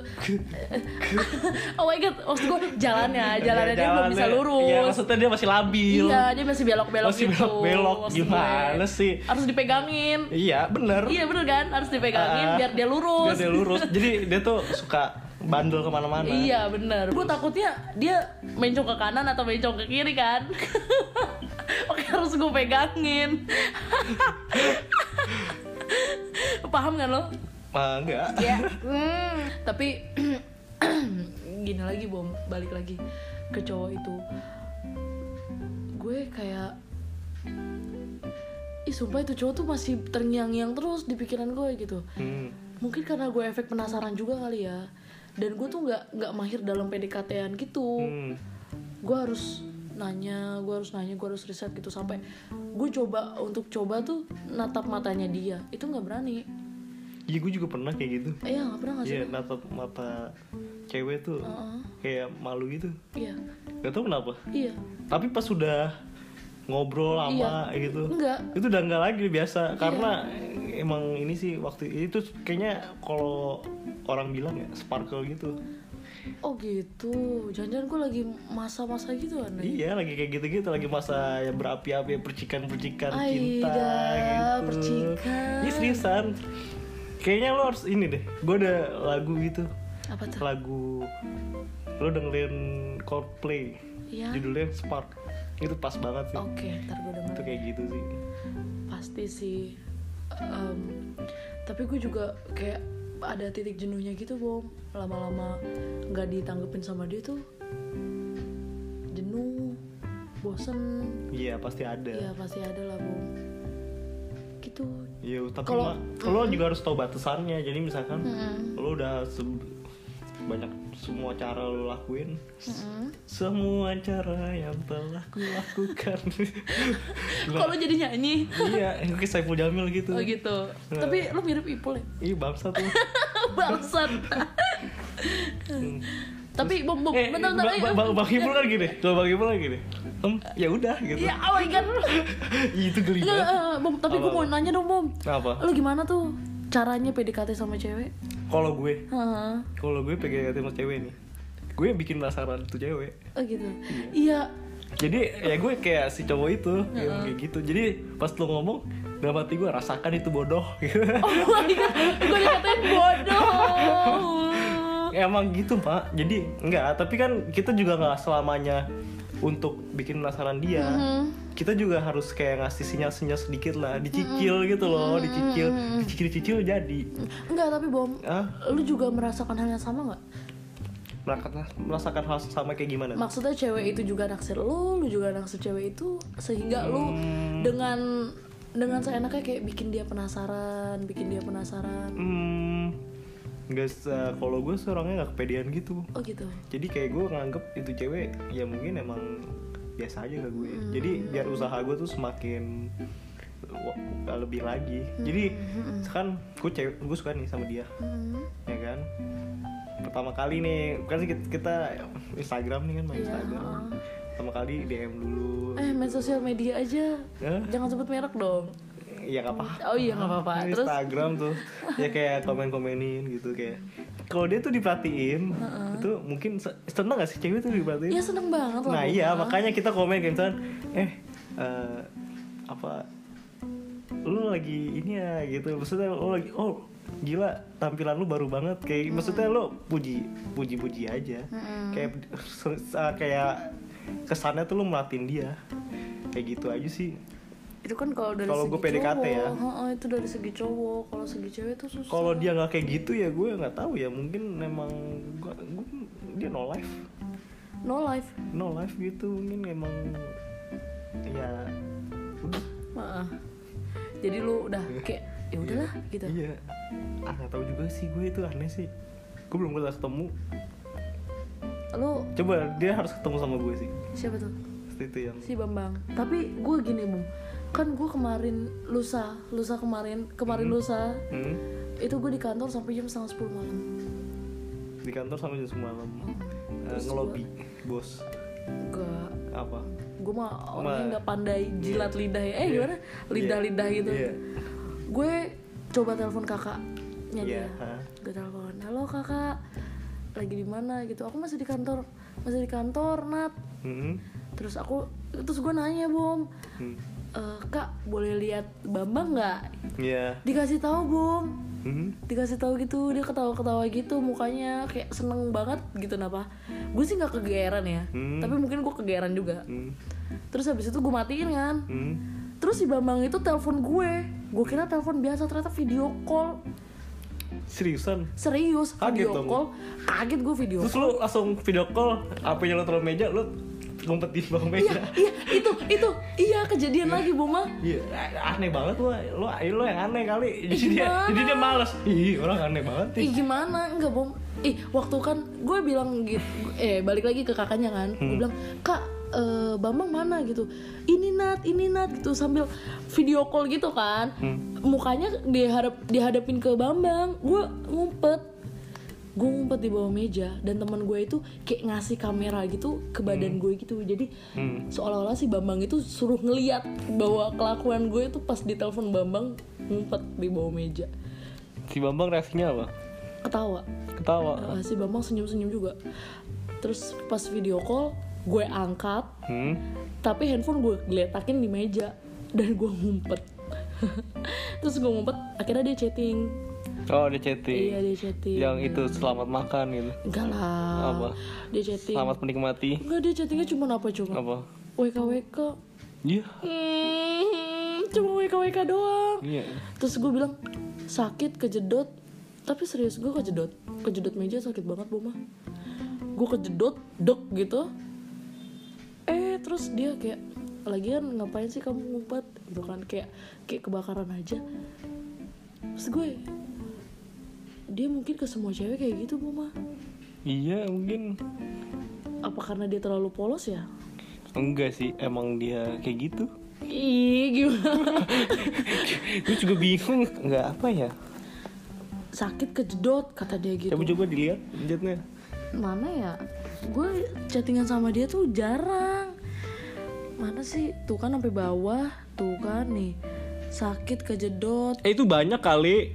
Speaker 2: oh my god maksud gue jalannya jalannya dia belum bisa
Speaker 1: Iya, Jalannya-
Speaker 2: lurus
Speaker 1: iya maksudnya dia masih labil
Speaker 2: Iya, dia masih belok-belok
Speaker 1: Masih
Speaker 2: gitu.
Speaker 1: belok-belok,
Speaker 2: Maksud
Speaker 1: gimana
Speaker 2: gue.
Speaker 1: sih?
Speaker 2: Harus dipegangin.
Speaker 1: iya bener
Speaker 2: Iya bener kan? Harus dipegangin
Speaker 1: Ah.
Speaker 2: biar dia lurus.
Speaker 1: Biar dia lurus jadi dia tuh suka bandel kemana-mana
Speaker 2: Iya bener. Gue takutnya dia mencong ke kanan atau mencong ke kiri kan? Oke harus gue pegangin. Paham kan lo?
Speaker 1: ah, enggak
Speaker 2: Ya. Tapi gini lagi bom balik lagi ke cowok itu. Gue kayak Ih sumpah itu cowok tuh masih terngiang-ngiang terus di pikiran gue gitu
Speaker 1: Hmm.
Speaker 2: Mungkin karena gue efek penasaran juga kali ya Dan gue tuh gak, nggak mahir dalam PDKT-an gitu
Speaker 1: Hmm.
Speaker 2: Gue harus nanya, gue harus nanya, gue harus riset gitu Sampai gue coba untuk coba tuh natap matanya dia Itu gak berani
Speaker 1: Iya gue juga pernah kayak gitu
Speaker 2: Eh ya gak pernah gak sih?
Speaker 1: Iya natap mata cewek tuh
Speaker 2: Heeh.
Speaker 1: kayak malu gitu
Speaker 2: Iya,
Speaker 1: Gak tau kenapa
Speaker 2: iya
Speaker 1: Tapi pas sudah ngobrol lama gitu
Speaker 2: Enggak,
Speaker 1: Itu udah enggak lagi
Speaker 2: Iya.
Speaker 1: biasa Karena emang ini sih waktu itu kayaknya kalau orang bilang ya sparkle gitu
Speaker 2: oh gitu Jangan-jangan gue lagi masa-masa gitu aneh
Speaker 1: Iya lagi kayak gitu-gitu Lagi masa ya berapi-api percikan-percikan cinta
Speaker 2: Aida,
Speaker 1: gitu
Speaker 2: percikan
Speaker 1: Iya seriusan Kayaknya lo harus ini deh Gue ada lagu gitu
Speaker 2: Apa tuh?
Speaker 1: lagu lo dengerin Coldplay
Speaker 2: Iya. Oh.
Speaker 1: judulnya Spark itu pas banget sih
Speaker 2: Oke, ntar gue denger
Speaker 1: itu kayak gitu sih
Speaker 2: pasti sih Em, tapi gue juga kayak ada titik jenuhnya gitu bom lama-lama nggak ditanggepin sama dia tuh jenuh bosen
Speaker 1: iya pasti ada
Speaker 2: ya pasti ada lah bom gitu
Speaker 1: iya tapi
Speaker 2: Kalau-
Speaker 1: mah, lo juga harus tahu batasannya jadi misalkan lo udah se- banyak semua cara lo lakuin semua cara yang telah kulakukan
Speaker 2: kalau jadi nyanyi
Speaker 1: iya kayak Saiful Jamil gitu
Speaker 2: oh gitu tapi lu mirip Ipul ya
Speaker 1: Ih bangsa tuh
Speaker 2: bangsat tapi bom bom
Speaker 1: Eh,
Speaker 2: bentar bentar
Speaker 1: Bang-
Speaker 2: eh,
Speaker 1: Bang- Bang Ipul kan gini Coba Bang Ipul kan gini Hmm, Ya udah gitu
Speaker 2: ya oh my god
Speaker 1: Ih, Itu geli
Speaker 2: Nggak,
Speaker 1: banget
Speaker 2: eh, Bom, tapi gue
Speaker 1: Apa?
Speaker 2: mau nanya dong, Bom.
Speaker 1: Apa?
Speaker 2: Lu gimana tuh caranya PDKT sama cewek?
Speaker 1: Kalau gue
Speaker 2: Heeh.
Speaker 1: Kalau gue PDKT sama cewek nih Gue yang bikin penasaran tuh cewek
Speaker 2: Oh gitu. Iya.
Speaker 1: Jadi ya gue kayak si cowok itu yang Kayak gitu Jadi pas lo ngomong Dalam hati gue rasakan itu bodoh gitu.
Speaker 2: Oh my god, gue dikatain bodoh.
Speaker 1: Emang gitu pak Jadi enggak Tapi kan kita juga nggak selamanya Untuk bikin penasaran dia
Speaker 2: Mm-hmm.
Speaker 1: Kita juga harus kayak ngasih sinyal-sinyal sedikit lah Dicicil gitu loh Dicicil Dicicil-cicil jadi
Speaker 2: Enggak, tapi Bom,
Speaker 1: ah,
Speaker 2: lu juga merasakan hal yang sama nggak?
Speaker 1: merasa- Merasakan hal sama kayak gimana
Speaker 2: Maksudnya cewek itu juga naksir lu, lu juga naksir cewek itu sehingga lu
Speaker 1: Hmm.
Speaker 2: dengan dengan seenaknya kayak bikin dia penasaran, bikin dia penasaran.
Speaker 1: Hmm, nggak se- kalau gue seorangnya nggak kepedean gitu.
Speaker 2: Oh gitu.
Speaker 1: Jadi kayak gue nganggep itu cewek
Speaker 2: Hmm.
Speaker 1: ya mungkin emang biasa aja ke gue. Jadi biar usaha gue tuh semakin Wah, lebih lagi
Speaker 2: Hmm.
Speaker 1: jadi kan gue cewek gue suka nih sama dia ya kan pertama kali nih kan kita, kita Instagram nih kan main
Speaker 2: Iya,
Speaker 1: Instagram
Speaker 2: ha.
Speaker 1: pertama kali DM dulu
Speaker 2: eh main sosial media aja
Speaker 1: Eh?
Speaker 2: jangan sebut merek dong
Speaker 1: ya nggak apa
Speaker 2: oh iya nggak apa-apa terus
Speaker 1: Instagram tuh ya kayak komen-komenin gitu kayak kalau dia tuh diperhatiin itu mungkin se- seneng gak sih cewek tuh diperhatiin
Speaker 2: ya seneng banget lah
Speaker 1: Nah
Speaker 2: Bu.
Speaker 1: iya makanya kita komen kayak misalkan eh eh, apa lu lagi ini ya gitu maksudnya lu lagi oh gila tampilan lu baru banget kayak maksudnya lu puji puji puji aja kayak eh, kayak kesannya tuh lu melatin dia kayak gitu aja sih
Speaker 2: itu kan kalau dari
Speaker 1: Kalau
Speaker 2: segi
Speaker 1: gua PDKT ya.
Speaker 2: cowok, heeh, itu dari segi cowok kalau segi cewek tuh susah
Speaker 1: kalau dia nggak kayak gitu ya gue nggak tahu ya mungkin emang gua, gua- dia no life
Speaker 2: no life
Speaker 1: no life gitu mungkin emang ya udah
Speaker 2: Heeh. jadi lu udah kayak ya udahlah
Speaker 1: Iya.
Speaker 2: gitu
Speaker 1: iya ah nggak tahu juga sih gue itu aneh sih gue belum pernah ketemu
Speaker 2: lu
Speaker 1: coba dia harus ketemu sama gue sih
Speaker 2: siapa tuh
Speaker 1: pasti itu yang
Speaker 2: si Bambang tapi gue gini bung kan gue kemarin lusa lusa kemarin kemarin lusa
Speaker 1: hmm,
Speaker 2: itu gue di kantor sampai jam setengah sepuluh malam
Speaker 1: di kantor sama jam semalam Eh
Speaker 2: Terus
Speaker 1: ngelobi bos
Speaker 2: enggak
Speaker 1: apa
Speaker 2: gue mah orangnya
Speaker 1: Ma-
Speaker 2: nggak pandai jilat lidah ya eh
Speaker 1: Iya.
Speaker 2: gimana lidah lidah
Speaker 1: Iya.
Speaker 2: gitu
Speaker 1: Iya.
Speaker 2: gue coba telepon kakaknya
Speaker 1: Iya,
Speaker 2: dia
Speaker 1: hah.
Speaker 2: gue telepon halo kakak lagi di mana gitu aku masih di kantor masih di kantor nat
Speaker 1: hmm,
Speaker 2: terus aku terus gue nanya bom
Speaker 1: hmm.
Speaker 2: "Eh, kak boleh lihat bambang nggak
Speaker 1: Iya.
Speaker 2: dikasih tahu bom
Speaker 1: Hmm.
Speaker 2: dikasih tahu gitu dia ketawa-ketawa gitu mukanya kayak seneng banget gitu napa gue sih nggak kegeeran ya
Speaker 1: Hmm.
Speaker 2: tapi mungkin gue kegeeran juga
Speaker 1: Hmm.
Speaker 2: terus habis itu gue matiin kan
Speaker 1: Hmm.
Speaker 2: terus si bambang itu telepon gue gue kira telepon biasa ternyata video call
Speaker 1: seriusan
Speaker 2: serius
Speaker 1: Kaget
Speaker 2: video
Speaker 1: dong.
Speaker 2: call kaget gue video
Speaker 1: terus lu langsung video call apa yang lu taruh meja lu ngumpet di bawah meja
Speaker 2: iya itu itu iya kejadian lagi boma
Speaker 1: Iya, aneh banget lu, lu, lu yang aneh kali. Jadi dia,
Speaker 2: Gimana? Iya,
Speaker 1: jadi dia males. Ih, orang aneh banget. ih.
Speaker 2: Ih gimana? Enggak bom. Ih waktu kan gue bilang gitu, eh balik lagi ke kakaknya kan, gue bilang kak eh, Bambang mana gitu, ini nat, ini nat gitu sambil video call gitu kan, mukanya diharap dihadapin ke Bambang, gue ngumpet, gue ngumpet di bawah meja dan teman gue itu kayak ngasih kamera gitu ke badan gue gitu, jadi seolah-olah si Bambang itu suruh ngeliat bahwa kelakuan gue itu pas ditelepon Bambang ngumpet di bawah meja,
Speaker 1: Si Bambang reaksinya apa?
Speaker 2: ketawa.
Speaker 1: Ketawa.
Speaker 2: Uh, si Bambang senyum-senyum juga. Terus pas video call, gue angkat,
Speaker 1: Hmm.
Speaker 2: tapi handphone gue geletakin di meja dan gue ngumpet. Terus gue ngumpet, akhirnya dia chatting.
Speaker 1: Oh, dia chatting.
Speaker 2: Iya dia chatting.
Speaker 1: Yang itu selamat makan gitu.
Speaker 2: Enggak lah.
Speaker 1: Apa?
Speaker 2: Dia chatting.
Speaker 1: Selamat menikmati.
Speaker 2: Enggak dia chattingnya cuma apa coba?
Speaker 1: Apa?
Speaker 2: WK WK.
Speaker 1: Iya.
Speaker 2: Hmm, cuma WK WK doang.
Speaker 1: Iya.
Speaker 2: Terus gue bilang sakit kejedot. Tapi serius gue kejedot. Kejedot meja sakit banget Boma. Gue kejedot dok gitu. Eh terus dia kayak lagian ngapain sih kamu ngumpet gitu kan kayak kayak kebakaran aja. Terus gue dia mungkin ke semua cewek kayak gitu Boma.
Speaker 1: Iya, mungkin
Speaker 2: Apa karena dia terlalu polos ya?
Speaker 1: enggak sih. Emang dia kayak gitu.
Speaker 2: Ih gimana?
Speaker 1: Gue juga bingung enggak apa ya.
Speaker 2: sakit kejedot kata dia gitu.
Speaker 1: Coba coba dilihat chatnya.
Speaker 2: mana ya gue chattingan sama dia tuh jarang mana sih tuh kan sampai bawah tuh kan nih sakit kejedot
Speaker 1: Eh itu banyak kali.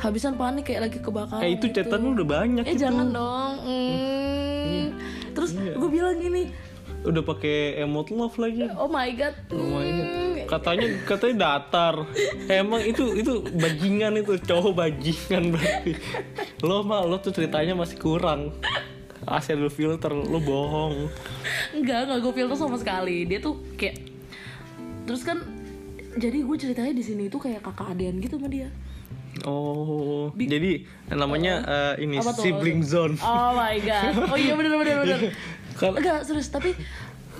Speaker 2: habisan panik kayak lagi kebakaran
Speaker 1: Eh itu
Speaker 2: gitu.
Speaker 1: chatan lu udah banyak
Speaker 2: eh
Speaker 1: itu.
Speaker 2: jangan dong mm. terus
Speaker 1: Iya.
Speaker 2: gue bilang gini
Speaker 1: Udah pakai emot love lagi.
Speaker 2: oh my god
Speaker 1: Oh my God.
Speaker 2: mm.
Speaker 1: Katanya katanya datar. Emang itu itu bajingan itu cowok bajingan berarti. Lo mah lo tuh ceritanya masih kurang. Asal lu filter, lo bohong.
Speaker 2: Enggak, enggak gue filter sama sekali. Dia tuh kayak terus kan jadi gue ceritanya di sini itu kayak kakak adean gitu sama dia.
Speaker 1: Oh, jadi namanya eh, ini
Speaker 2: Apa tuh?
Speaker 1: sibling zone. Kan,
Speaker 2: Oh my god. Oh iya bener bener bener.
Speaker 1: Kal-
Speaker 2: Enggak serius tapi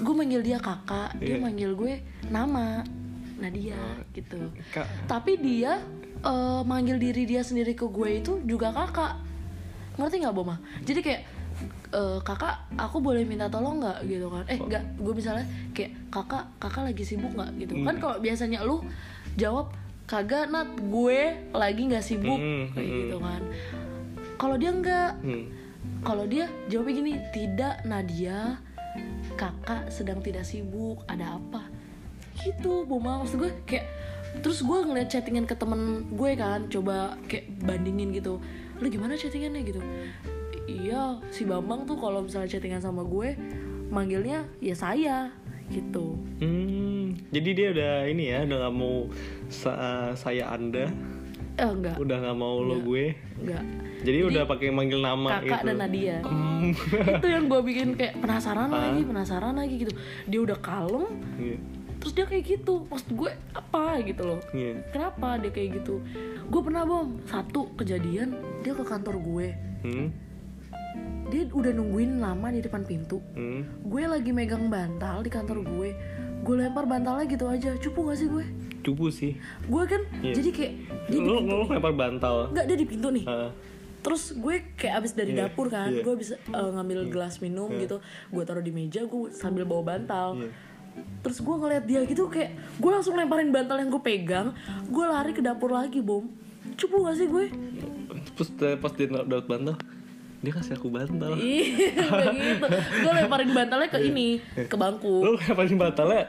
Speaker 2: gue manggil dia kakak,
Speaker 1: Iya.
Speaker 2: dia
Speaker 1: Oh,
Speaker 2: manggil gue nama Nadia gitu.
Speaker 1: Kak.
Speaker 2: Tapi dia eh, manggil diri dia sendiri ke gue itu juga kakak. Ngerti nggak Boma? Jadi kayak "Eh, kakak aku boleh minta tolong nggak gitu kan
Speaker 1: Oh.
Speaker 2: eh nggak gue misalnya kayak kakak kakak lagi sibuk nggak gitu
Speaker 1: Hmm.
Speaker 2: kan kalau biasanya lu jawab kagak nat gue lagi nggak sibuk
Speaker 1: Hmm,
Speaker 2: kayak
Speaker 1: hmm.
Speaker 2: gitu kan kalau dia nggak
Speaker 1: Hmm.
Speaker 2: kalau dia jawabnya gini tidak Nadia kakak sedang tidak sibuk ada apa gitu Boma maksud gue kayak terus gue ngeliat chattingan ke temen gue kan coba kayak bandingin gitu lu gimana chattingannya gitu iya si Bambang tuh kalau misalnya chattingan sama gue manggilnya ya saya gitu
Speaker 1: Hmm, jadi dia udah ini ya, udah nggak mau sa- saya anda,
Speaker 2: eh enggak
Speaker 1: udah nggak mau lo gue.
Speaker 2: enggak
Speaker 1: Jadi, udah pakai manggil nama
Speaker 2: Iya. kakak
Speaker 1: gitu.
Speaker 2: dan Nadia
Speaker 1: Hmm. Ah.
Speaker 2: itu yang gue bikin kayak penasaran lagi penasaran lagi gitu dia udah kalem
Speaker 1: Iya,
Speaker 2: terus dia kayak gitu maksud gue apa gitu loh
Speaker 1: iya.
Speaker 2: kenapa dia kayak gitu gue pernah bom satu kejadian dia ke kantor gue
Speaker 1: Hmm,
Speaker 2: dia udah nungguin lama di depan pintu
Speaker 1: hmm.
Speaker 2: gue lagi megang bantal di kantor gue gue lempar bantalnya gitu aja cupu gak sih gue
Speaker 1: Cupu sih.
Speaker 2: gue kan
Speaker 1: Iya.
Speaker 2: jadi gitu. kayak dia di
Speaker 1: Lo
Speaker 2: pintu
Speaker 1: lo lempar bantal.
Speaker 2: nggak dia di pintu nih
Speaker 1: Ah,
Speaker 2: terus gue kayak abis dari
Speaker 1: Iya,
Speaker 2: dapur kan
Speaker 1: iya.
Speaker 2: gue bisa ngambil gelas minum gitu gue taruh di meja gue sambil bawa bantal
Speaker 1: Iya.
Speaker 2: terus gue ngeliat dia gitu kayak gue langsung lemparin bantal yang gue pegang gue lari ke dapur lagi bom cupu gak sih gue
Speaker 1: Terus eh, pas dia dapat bantal, dia kasih aku bantal.
Speaker 2: Ih, kayak gitu gue lemparin bantalnya
Speaker 1: Iya.
Speaker 2: ke ini ke bangku
Speaker 1: Lo lemparin bantalnya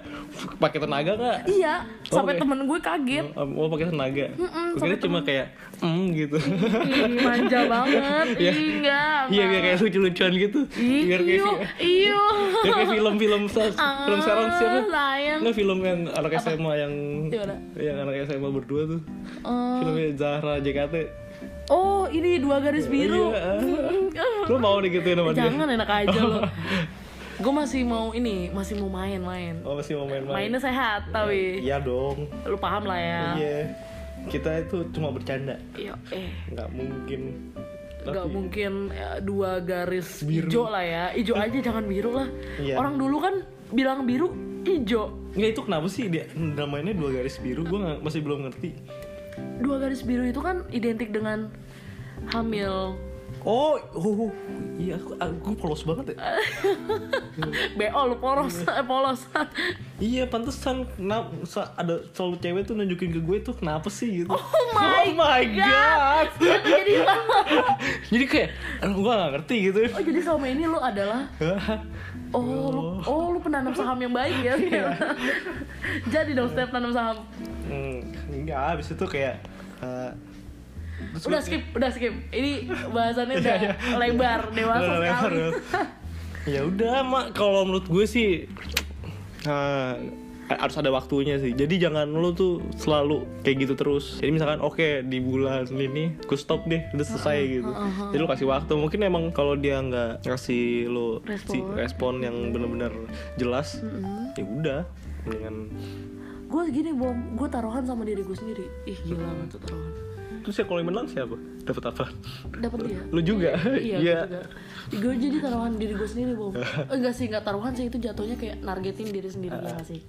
Speaker 1: pakai tenaga nggak?
Speaker 2: iya sampai
Speaker 1: Oke.
Speaker 2: temen gue kaget
Speaker 1: Oh pakai tenaga. Gue kira cuma kayak mm gitu.
Speaker 2: Iya, Ih, manja banget
Speaker 1: Iya.
Speaker 2: Ih, enggak
Speaker 1: Iya biar kayak lucu-lucuan gitu.
Speaker 2: Ih, iya.
Speaker 1: Biar kayak
Speaker 2: iyo iyo
Speaker 1: biar kayak film-film sa- film sekarang siapa?
Speaker 2: Ah, sayang
Speaker 1: Nggak film yang anak SMA yang
Speaker 2: Gimana?
Speaker 1: yang anak SMA berdua tuh.
Speaker 2: Eh,
Speaker 1: Filmnya Zahra JKT.
Speaker 2: oh ini dua garis biru
Speaker 1: Iya. Lo mau digituin sama dia? Oh.
Speaker 2: jangan enak aja lo gue masih mau ini masih mau main-main
Speaker 1: Oh masih mau main-main.
Speaker 2: mainnya sehat tapi
Speaker 1: Iya dong.
Speaker 2: lu paham lah ya
Speaker 1: Iya. Kita itu cuma bercanda.
Speaker 2: Iya, eh
Speaker 1: Nggak mungkin.
Speaker 2: nggak mungkin eh, dua garis
Speaker 1: iya. Biru.
Speaker 2: hijau lah ya hijau aja jangan biru lah
Speaker 1: Iya.
Speaker 2: orang dulu kan bilang biru hijau
Speaker 1: Nggak itu kenapa sih dia namanya dua garis biru? Gue nggak- masih belum ngerti.
Speaker 2: dua garis biru itu kan identik dengan hamil
Speaker 1: Oh, oh, oh. iya aku, aku polos banget ya.
Speaker 2: bo lu polos eh, polos
Speaker 1: Iya, pantesan kenapa sa- ada selalu cewek tuh nunjukin ke gue tuh kenapa sih gitu. Oh
Speaker 2: my
Speaker 1: god.
Speaker 2: Itu jadi
Speaker 1: Jadi kayak aduh, gue gak ngerti gitu.
Speaker 2: oh jadi selama ini lu adalah oh lu, oh lu penanam saham yang baik ya
Speaker 1: Iya.
Speaker 2: jadi dong setiap tanam saham
Speaker 1: Hmm, enggak, habis itu kayak eh, terus
Speaker 2: udah
Speaker 1: gue-
Speaker 2: skip udah skip ini bahasannya udah
Speaker 1: Iya,
Speaker 2: lebar dewasa
Speaker 1: Udah lebar,
Speaker 2: sekali
Speaker 1: udah. ya udah, Mak, kalau menurut gue sih eh, harus ada waktunya sih. Jadi jangan lu tuh selalu kayak gitu terus. Jadi misalkan oke di bulan ini gue stop deh, udah selesai gitu. Jadi lu kasih waktu. Mungkin emang kalau dia nggak ngasih lu
Speaker 2: Respon.
Speaker 1: si- respon yang benar-benar jelas, ya udah. Dengan
Speaker 2: gue gini bom gue taruhan sama diri gue sendiri ih gila banget tuh taruhan
Speaker 1: terus ya kalau yang menang siapa? Dapat apa?
Speaker 2: dapat dia
Speaker 1: Lu juga.
Speaker 2: iya gue jadi taruhan diri gue sendiri bom Eh, enggak sih enggak taruhan sih itu jatuhnya kayak nargetin diri
Speaker 1: Ah.
Speaker 2: sendiri ya nggak sih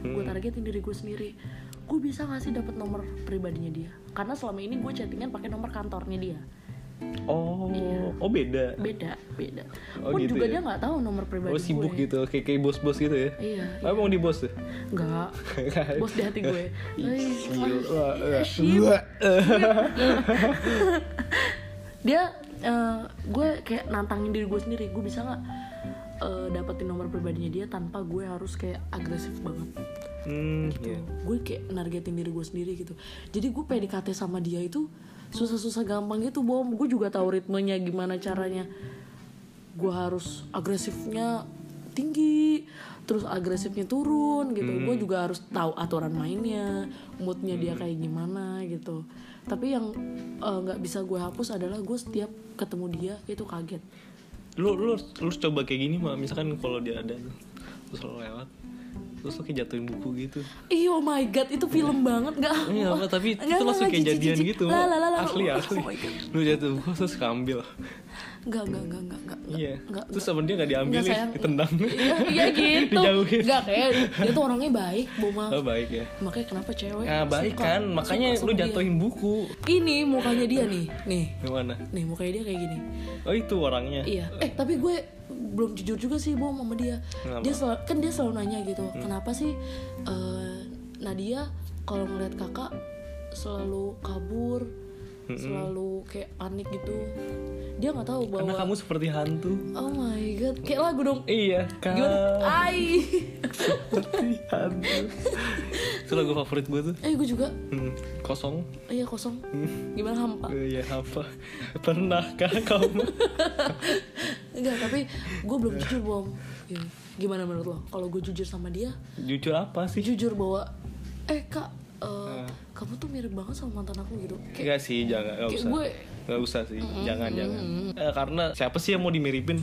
Speaker 1: Hmm.
Speaker 2: gue targetin diri gue sendiri gue bisa nggak sih dapat nomor pribadinya dia karena selama ini gue chattingan pakai nomor kantornya dia
Speaker 1: Oh, oh beda.
Speaker 2: Iya. beda beda
Speaker 1: Oh,
Speaker 2: pun
Speaker 1: gitu
Speaker 2: juga
Speaker 1: ya?
Speaker 2: dia nggak tahu nomor pribadi
Speaker 1: Oh sibuk
Speaker 2: gue.
Speaker 1: gitu, kayak kayak bos-bos gitu ya.
Speaker 2: iya
Speaker 1: Apa mau di bos tuh?
Speaker 2: Enggak. Bos di hati gue. Ay,
Speaker 1: Kan? Gila, eh,
Speaker 2: shit.
Speaker 1: eh, eh.
Speaker 2: Dia eh, gue kayak nantangin diri gue sendiri. Gue bisa nggak eh, dapetin nomor pribadinya dia tanpa gue harus kayak agresif banget.
Speaker 1: Hmm, iya.
Speaker 2: Gue kayak nargetin diri gue sendiri gitu. Jadi gue PDKT sama dia itu susah-susah gampang gitu, Bom. Gue juga tahu ritmenya gimana caranya. Gue harus agresifnya tinggi, terus agresifnya turun gitu.
Speaker 1: Hmm.
Speaker 2: Gue juga harus tahu aturan mainnya, moodnya dia kayak gimana gitu. Tapi yang eh, nggak bisa gue hapus adalah gue setiap ketemu dia itu kaget.
Speaker 1: Lu, lu, harus- lu harus coba kayak gini mah, misalkan kalau dia ada terus lu lewat terus lo kayak jatuhin buku gitu
Speaker 2: Ih, oh my god, itu film banget nggak?
Speaker 1: Iya,
Speaker 2: Allah.
Speaker 1: tapi
Speaker 2: Nggak,
Speaker 1: itu langsung
Speaker 2: nggak,
Speaker 1: kayak
Speaker 2: jijik,
Speaker 1: jadian
Speaker 2: jijik.
Speaker 1: gitu,
Speaker 2: Lah, lah, lah, lah.
Speaker 1: asli
Speaker 2: Oh,
Speaker 1: asli.
Speaker 2: oh my God.
Speaker 1: Lu jatuh buku terus keambil.
Speaker 2: Nggak, nggak, nggak, nggak, nggak.
Speaker 1: Iya.
Speaker 2: nggak,
Speaker 1: Terus sama dia nggak diambilin,
Speaker 2: Nggak, sayang.
Speaker 1: ditendang.
Speaker 2: Iya, iya gitu.
Speaker 1: Dijauhin.
Speaker 2: Enggak kayak dia tuh orangnya baik, Boma.
Speaker 1: Oh baik ya.
Speaker 2: Makanya kenapa cewek?
Speaker 1: Nah baik
Speaker 2: suka-
Speaker 1: kan, makanya
Speaker 2: suka
Speaker 1: lu
Speaker 2: sama
Speaker 1: jatuhin buku.
Speaker 2: dia. Ini mukanya dia nih, nih.
Speaker 1: Gimana?
Speaker 2: Nih mukanya dia kayak gini.
Speaker 1: Oh itu orangnya.
Speaker 2: Iya. Eh, tapi gue belum jujur juga sih Bom sama dia.
Speaker 1: Kenapa? Hmm.
Speaker 2: Dia sel- kan dia selalu nanya gitu. Kenapa sih eh, Nadia kalau ngeliat kakak selalu kabur,
Speaker 1: Hmm.
Speaker 2: selalu kayak panik gitu. Dia nggak tahu
Speaker 1: Karena
Speaker 2: bahwa
Speaker 1: kamu seperti hantu.
Speaker 2: Oh my god, kayak lagu dong.
Speaker 1: Iya kan.
Speaker 2: Gimana? Ah, Ai.
Speaker 1: Seperti hantu. itu lagu favorit gue tuh.
Speaker 2: eh, gue juga.
Speaker 1: Hmm, kosong.
Speaker 2: Iya kosong. Gimana hampa?
Speaker 1: Iya apa? Pernahkah kamu?
Speaker 2: Enggak, tapi gue belum jujur bom. Gitu. Gimana menurut lo? Kalau gue jujur sama dia,
Speaker 1: Jujur apa sih?
Speaker 2: jujur bahwa eh kak, eh, kamu tuh mirip banget sama mantan aku gitu. Kayak,
Speaker 1: Ah. Enggak sih, jangan, enggak
Speaker 2: kayak
Speaker 1: usah.
Speaker 2: gue,
Speaker 1: Gak usah sih, jangan jangan. Eh, karena siapa sih yang mau dimiripin?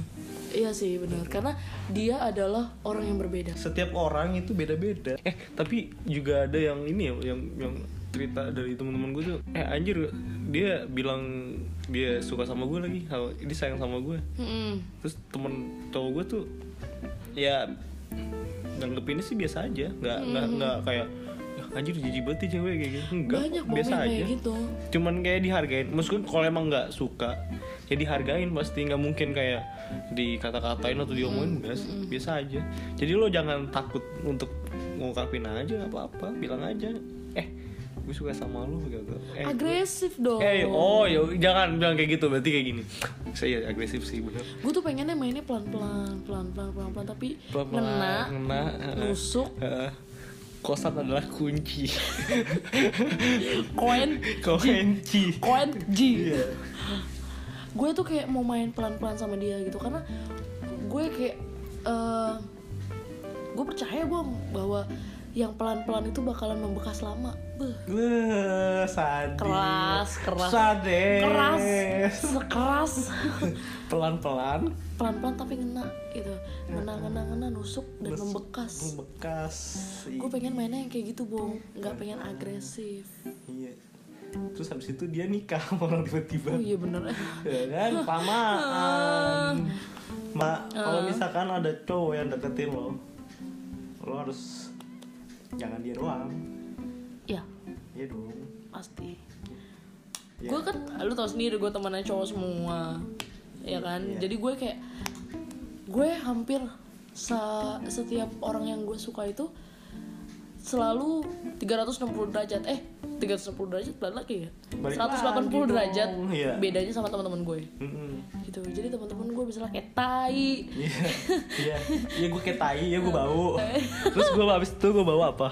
Speaker 2: iya sih benar. Karena dia adalah orang yang berbeda.
Speaker 1: Setiap orang itu beda-beda. Eh tapi juga ada yang ini ya, yang yang cerita dari teman-teman gue tuh. Eh anjir, dia bilang dia suka sama gue lagi, sama- dia sayang sama gue.
Speaker 2: Mm-mm.
Speaker 1: Terus temen cowok gue tuh ya nanggepinnya sih biasa aja, nggak
Speaker 2: Hmm.
Speaker 1: nggak nggak kayak "Ah, anjir jijik banget nih cewek kayak gitu. Enggak,
Speaker 2: Banyak bom
Speaker 1: biasa
Speaker 2: yang
Speaker 1: aja.
Speaker 2: kayak gitu.
Speaker 1: cuman kayak dihargain meskipun kalau emang nggak suka ya dihargain pasti nggak mungkin kayak dikata-katain atau
Speaker 2: Hmm.
Speaker 1: diomongin biasa biasa aja jadi lo jangan takut untuk ngungkapin aja apa-apa bilang aja eh gue suka sama lo gitu eh, gue-
Speaker 2: Agresif dong.
Speaker 1: eh oh ya jangan bilang kayak gitu berarti kayak gini saya agresif sih bener
Speaker 2: Gue tuh pengennya mainnya pelan-pelan, pelan-pelan, pelan-pelan, tapi
Speaker 1: Pelan-pelan,
Speaker 2: ngena,
Speaker 1: ngena, eh,
Speaker 2: nusuk,
Speaker 1: eh, kosan adalah kunci
Speaker 2: koin,
Speaker 1: kunci
Speaker 2: koin
Speaker 1: Iya.
Speaker 2: G. Gue tuh kayak mau main pelan-pelan sama dia gitu karena gue kayak eh, gue percaya bang bahwa yang pelan-pelan itu bakalan membekas lama. Beuh,
Speaker 1: Wah, Eh, sadis.
Speaker 2: Keras, keras.
Speaker 1: Sadis.
Speaker 2: keras, sekeras.
Speaker 1: Pelan-pelan
Speaker 2: pelan-pelan tapi ngena gitu, ngena, ngena, ngena, nusuk dan membekas.
Speaker 1: membekas.
Speaker 2: Gue pengen mainnya yang kayak gitu bong, nggak pengen agresif.
Speaker 1: Iya. Terus habis itu dia nikah sama orang tiba-tiba.
Speaker 2: Oh iya bener.
Speaker 1: Ya kan kelamaan.
Speaker 2: Eh.
Speaker 1: Mbak, kalau misalkan ada cowok yang deketin lo, lo harus jangan dia doang.
Speaker 2: ya
Speaker 1: Iya dong.
Speaker 2: pasti.
Speaker 1: Iya.
Speaker 2: Gue kan, lu tau sendiri gue temennya cowok semua, ya kan.
Speaker 1: Iya.
Speaker 2: Jadi gue kayak, gue hampir sa- setiap orang yang gue suka itu selalu 360 derajat. Eh, 360 derajat balik lagi ya.
Speaker 1: Balik
Speaker 2: 180
Speaker 1: lagi
Speaker 2: derajat
Speaker 1: dong, iya.
Speaker 2: bedanya sama teman-teman gue.
Speaker 1: Mm-mm.
Speaker 2: Gitu. Jadi teman-teman gue misalnya kayak tai.
Speaker 1: Iya, iya, iya gue kayak tai, ya gue bau. Terus gue abis itu gue bawa apa?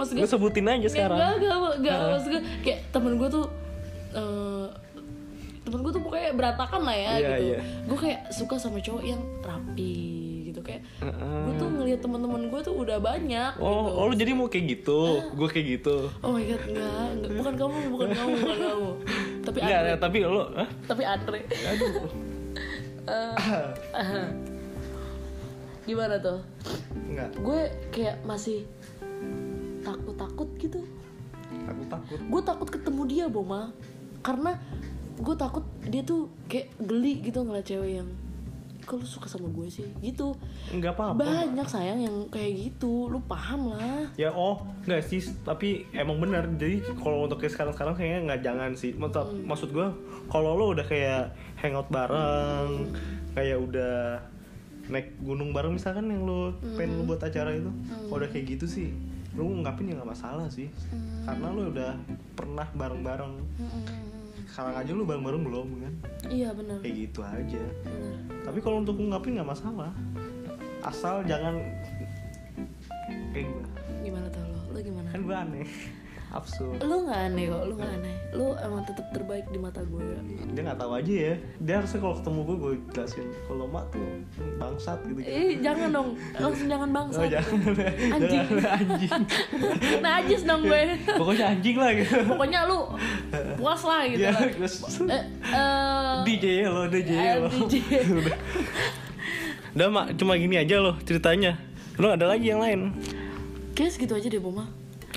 Speaker 2: Maksud
Speaker 1: Gue
Speaker 2: gue
Speaker 1: sebutin aja
Speaker 2: Enggak,
Speaker 1: sekarang.
Speaker 2: enggak, enggak, enggak. Maksud gue kayak temen gue tuh eh, temen gue tuh pokoknya berantakan lah ya
Speaker 1: Iya,
Speaker 2: gitu.
Speaker 1: iya.
Speaker 2: Gue kayak suka sama cowok yang rapi gitu kayak gue tuh ngelihat teman-teman gue tuh udah banyak
Speaker 1: Oh,
Speaker 2: gitu.
Speaker 1: oh lu jadi mau kayak gitu? Gue kayak gitu.
Speaker 2: Oh my god, enggak, enggak. Bukan kamu, bukan kamu, bukan kamu. Tapi
Speaker 1: Enggak,
Speaker 2: Andre,
Speaker 1: enggak, tapi lo, hah?
Speaker 2: tapi Andre. Eh, Gimana tuh?
Speaker 1: Enggak,
Speaker 2: Gue kayak masih takut-takut gitu.
Speaker 1: aku takut.
Speaker 2: gue takut ketemu dia Boma karena gue takut dia tuh kayak geli gitu ngeliat cewek yang kalau suka sama gue sih gitu
Speaker 1: Enggak apa-apa.
Speaker 2: banyak sayang yang kayak gitu lu paham lah
Speaker 1: Ya oh, enggak sih, tapi emang benar. Jadi kalau untuk kayak sekarang-sekarang kayaknya enggak jangan sih. Maksud, maksud gue kalau lo udah kayak hangout bareng, kayak udah naik gunung bareng misalkan yang lo pengen lo buat acara itu, kalau udah kayak gitu sih lo ngungkapin ya nggak masalah sih karena lo udah pernah bareng-bareng sekarang aja lo bareng-bareng belum kan
Speaker 2: iya benar
Speaker 1: kayak gitu aja
Speaker 2: benar
Speaker 1: tapi kalau untuk ngungkapin nggak masalah asal jangan kayak gue
Speaker 2: gimana tuh lo lo gimana
Speaker 1: kan gue aneh absurd
Speaker 2: lu nggak aneh kok lu nggak aneh lu emang tetap terbaik di mata gue
Speaker 1: dia nggak tahu aja ya dia harusnya kalau ketemu gue gue jelasin kalau mak tuh bangsat gitu gitu
Speaker 2: eh jangan dong langsung jangan bangsa
Speaker 1: oh jangan
Speaker 2: Anjing.
Speaker 1: jangan anjing
Speaker 2: najis dong gue
Speaker 1: pokoknya anjing lah gitu
Speaker 2: pokoknya lu puas lah gitu
Speaker 1: ya
Speaker 2: lah.
Speaker 1: terus
Speaker 2: Eh, eh,
Speaker 1: DJ ya lo DJ lo
Speaker 2: eh, DJ.
Speaker 1: udah mak cuma gini aja loh ceritanya Lo ada lagi yang lain?
Speaker 2: Kayaknya segitu aja deh Boma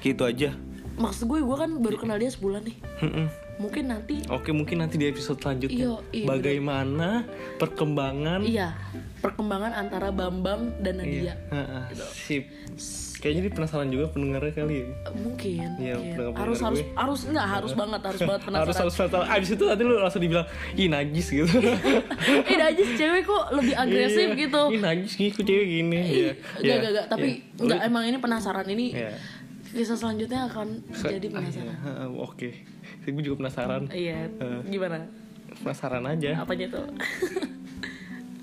Speaker 1: Gitu aja.
Speaker 2: Maksud gue, gue kan baru kenal dia sebulan nih
Speaker 1: Mm-mm.
Speaker 2: Mungkin nanti
Speaker 1: Oke mungkin nanti di episode selanjutnya
Speaker 2: Iya, iya,
Speaker 1: bagaimana perkembangan Iya.
Speaker 2: Iya Perkembangan antara Bambang dan Nadia
Speaker 1: Heeh,
Speaker 2: Gitu.
Speaker 1: sip. Kayaknya dia penasaran juga pendengarnya kali ya.
Speaker 2: Mungkin
Speaker 1: Iya,
Speaker 2: mungkin.
Speaker 1: pendengar-pendengar
Speaker 2: Harus harus
Speaker 1: gue. Iya.
Speaker 2: harus enggak harus banget harus banget penasaran
Speaker 1: Harus harus penasaran. Abis itu nanti lu langsung dibilang, ih najis gitu.
Speaker 2: Eh aja cewek kok lebih agresif
Speaker 1: Iya,
Speaker 2: gitu
Speaker 1: Ih najis gitu cewek gini. Iya.
Speaker 2: Gak,
Speaker 1: iya,
Speaker 2: gak, gak. Tapi
Speaker 1: iya.
Speaker 2: nggak emang ini penasaran ini.
Speaker 1: Iya.
Speaker 2: Kisah selanjutnya akan jadi penasaran.
Speaker 1: Heeh, Oke. Saya Gue juga penasaran.
Speaker 2: Iya.
Speaker 1: Eh.
Speaker 2: Gimana?
Speaker 1: Penasaran aja.
Speaker 2: Apanya tuh?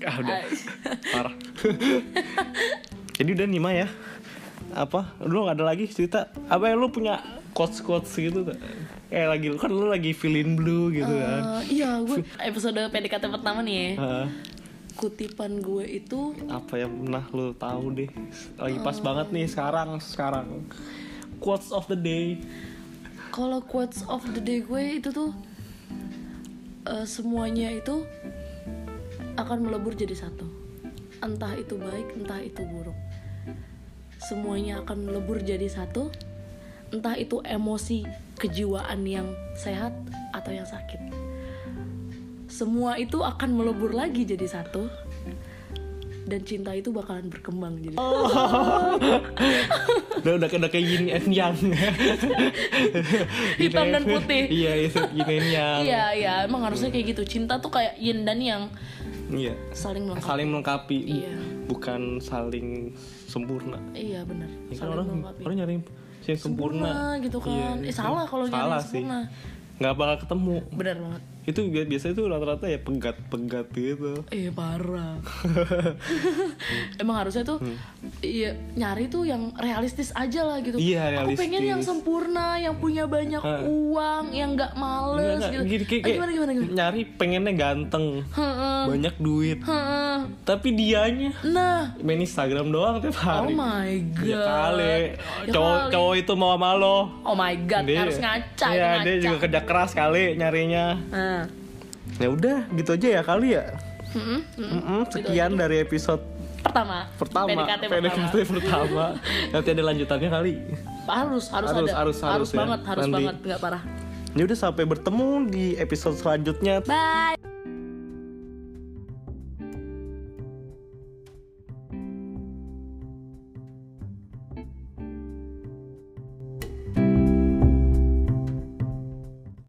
Speaker 1: Ah udah. Parah. Jadi udah nih Ma ya. Apa? Lu gak ada lagi cerita? Apa ya lu punya quotes-quotes gitu? nggak? Kayak lagi lu kan lu lagi feeling blue gitu kan.
Speaker 2: Eh, iya, gue episode PDKT pertama nih ya.
Speaker 1: Heeh.
Speaker 2: Kutipan gue itu
Speaker 1: apa yang pernah lu tahu deh lagi pas banget nih sekarang sekarang quotes of the day
Speaker 2: kalau quotes of the day gue itu tuh eh, semuanya itu akan melebur jadi satu. Entah itu baik, entah itu buruk. Semuanya akan melebur jadi satu. Entah itu emosi kejiwaan yang sehat atau yang sakit. Semua itu akan melebur lagi jadi satu. Dan cinta itu bakalan berkembang jadi.
Speaker 1: udah udah, udah kayak yin and yang
Speaker 2: Hitam dan putih.
Speaker 1: iya itu yin and yang
Speaker 2: Iya, iya, emang harusnya kayak gitu. Cinta tuh kayak yin dan yang
Speaker 1: Iya.
Speaker 2: saling melengkapi.
Speaker 1: saling melengkapi
Speaker 2: Iya.
Speaker 1: bukan saling sempurna
Speaker 2: Iya benar.
Speaker 1: Ya kan
Speaker 2: Saling
Speaker 1: orang
Speaker 2: melengkapi.
Speaker 1: orang nyari yang sempurna, Iya,
Speaker 2: gitu kan. Eh, salah kalau nyari yang
Speaker 1: Salah sih.
Speaker 2: sempurna.
Speaker 1: nggak bakal ketemu
Speaker 2: Benar banget.
Speaker 1: itu bi- biasanya tuh rata-rata ya pegat-pegat gitu
Speaker 2: Eh parah. Emang harusnya tuh
Speaker 1: Hmm.
Speaker 2: iya nyari tuh yang realistis aja lah gitu.
Speaker 1: Iya,
Speaker 2: Aku pengen yang
Speaker 1: realistis.
Speaker 2: sempurna, yang punya banyak
Speaker 1: Hah.
Speaker 2: uang, yang nggak males
Speaker 1: Iya, Nggak, nggak,
Speaker 2: gitu.
Speaker 1: gini, kayak-
Speaker 2: Eh, gimana gimana gimana. Ah.
Speaker 1: nyari pengennya ganteng
Speaker 2: Heeh,
Speaker 1: banyak duit
Speaker 2: heeh.
Speaker 1: tapi dianya
Speaker 2: Nah,
Speaker 1: main Instagram doang tiap hari.
Speaker 2: oh my god.
Speaker 1: Ya kali.
Speaker 2: Ya
Speaker 1: Cowok
Speaker 2: kali.
Speaker 1: cowok itu mau sama lo.
Speaker 2: Oh my god,
Speaker 1: Dia-
Speaker 2: harus ngaca
Speaker 1: Iya,
Speaker 2: itu
Speaker 1: dia
Speaker 2: ngaca.
Speaker 1: juga kerja keras kali nyarinya.
Speaker 2: Nah.
Speaker 1: Ya udah, gitu aja ya kali ya.
Speaker 2: Mm-mm, mm-mm.
Speaker 1: Mm-mm, sekian dari episode
Speaker 2: Pertama,
Speaker 1: pertama
Speaker 2: PDKT pertama.
Speaker 1: PDKT pertama. Nanti ada lanjutannya kali.
Speaker 2: harus
Speaker 1: Harus,
Speaker 2: harus ada
Speaker 1: harus, harus ya.
Speaker 2: banget harus
Speaker 1: Nanti.
Speaker 2: banget nggak parah
Speaker 1: Ya udah sampai bertemu di episode selanjutnya.
Speaker 2: bye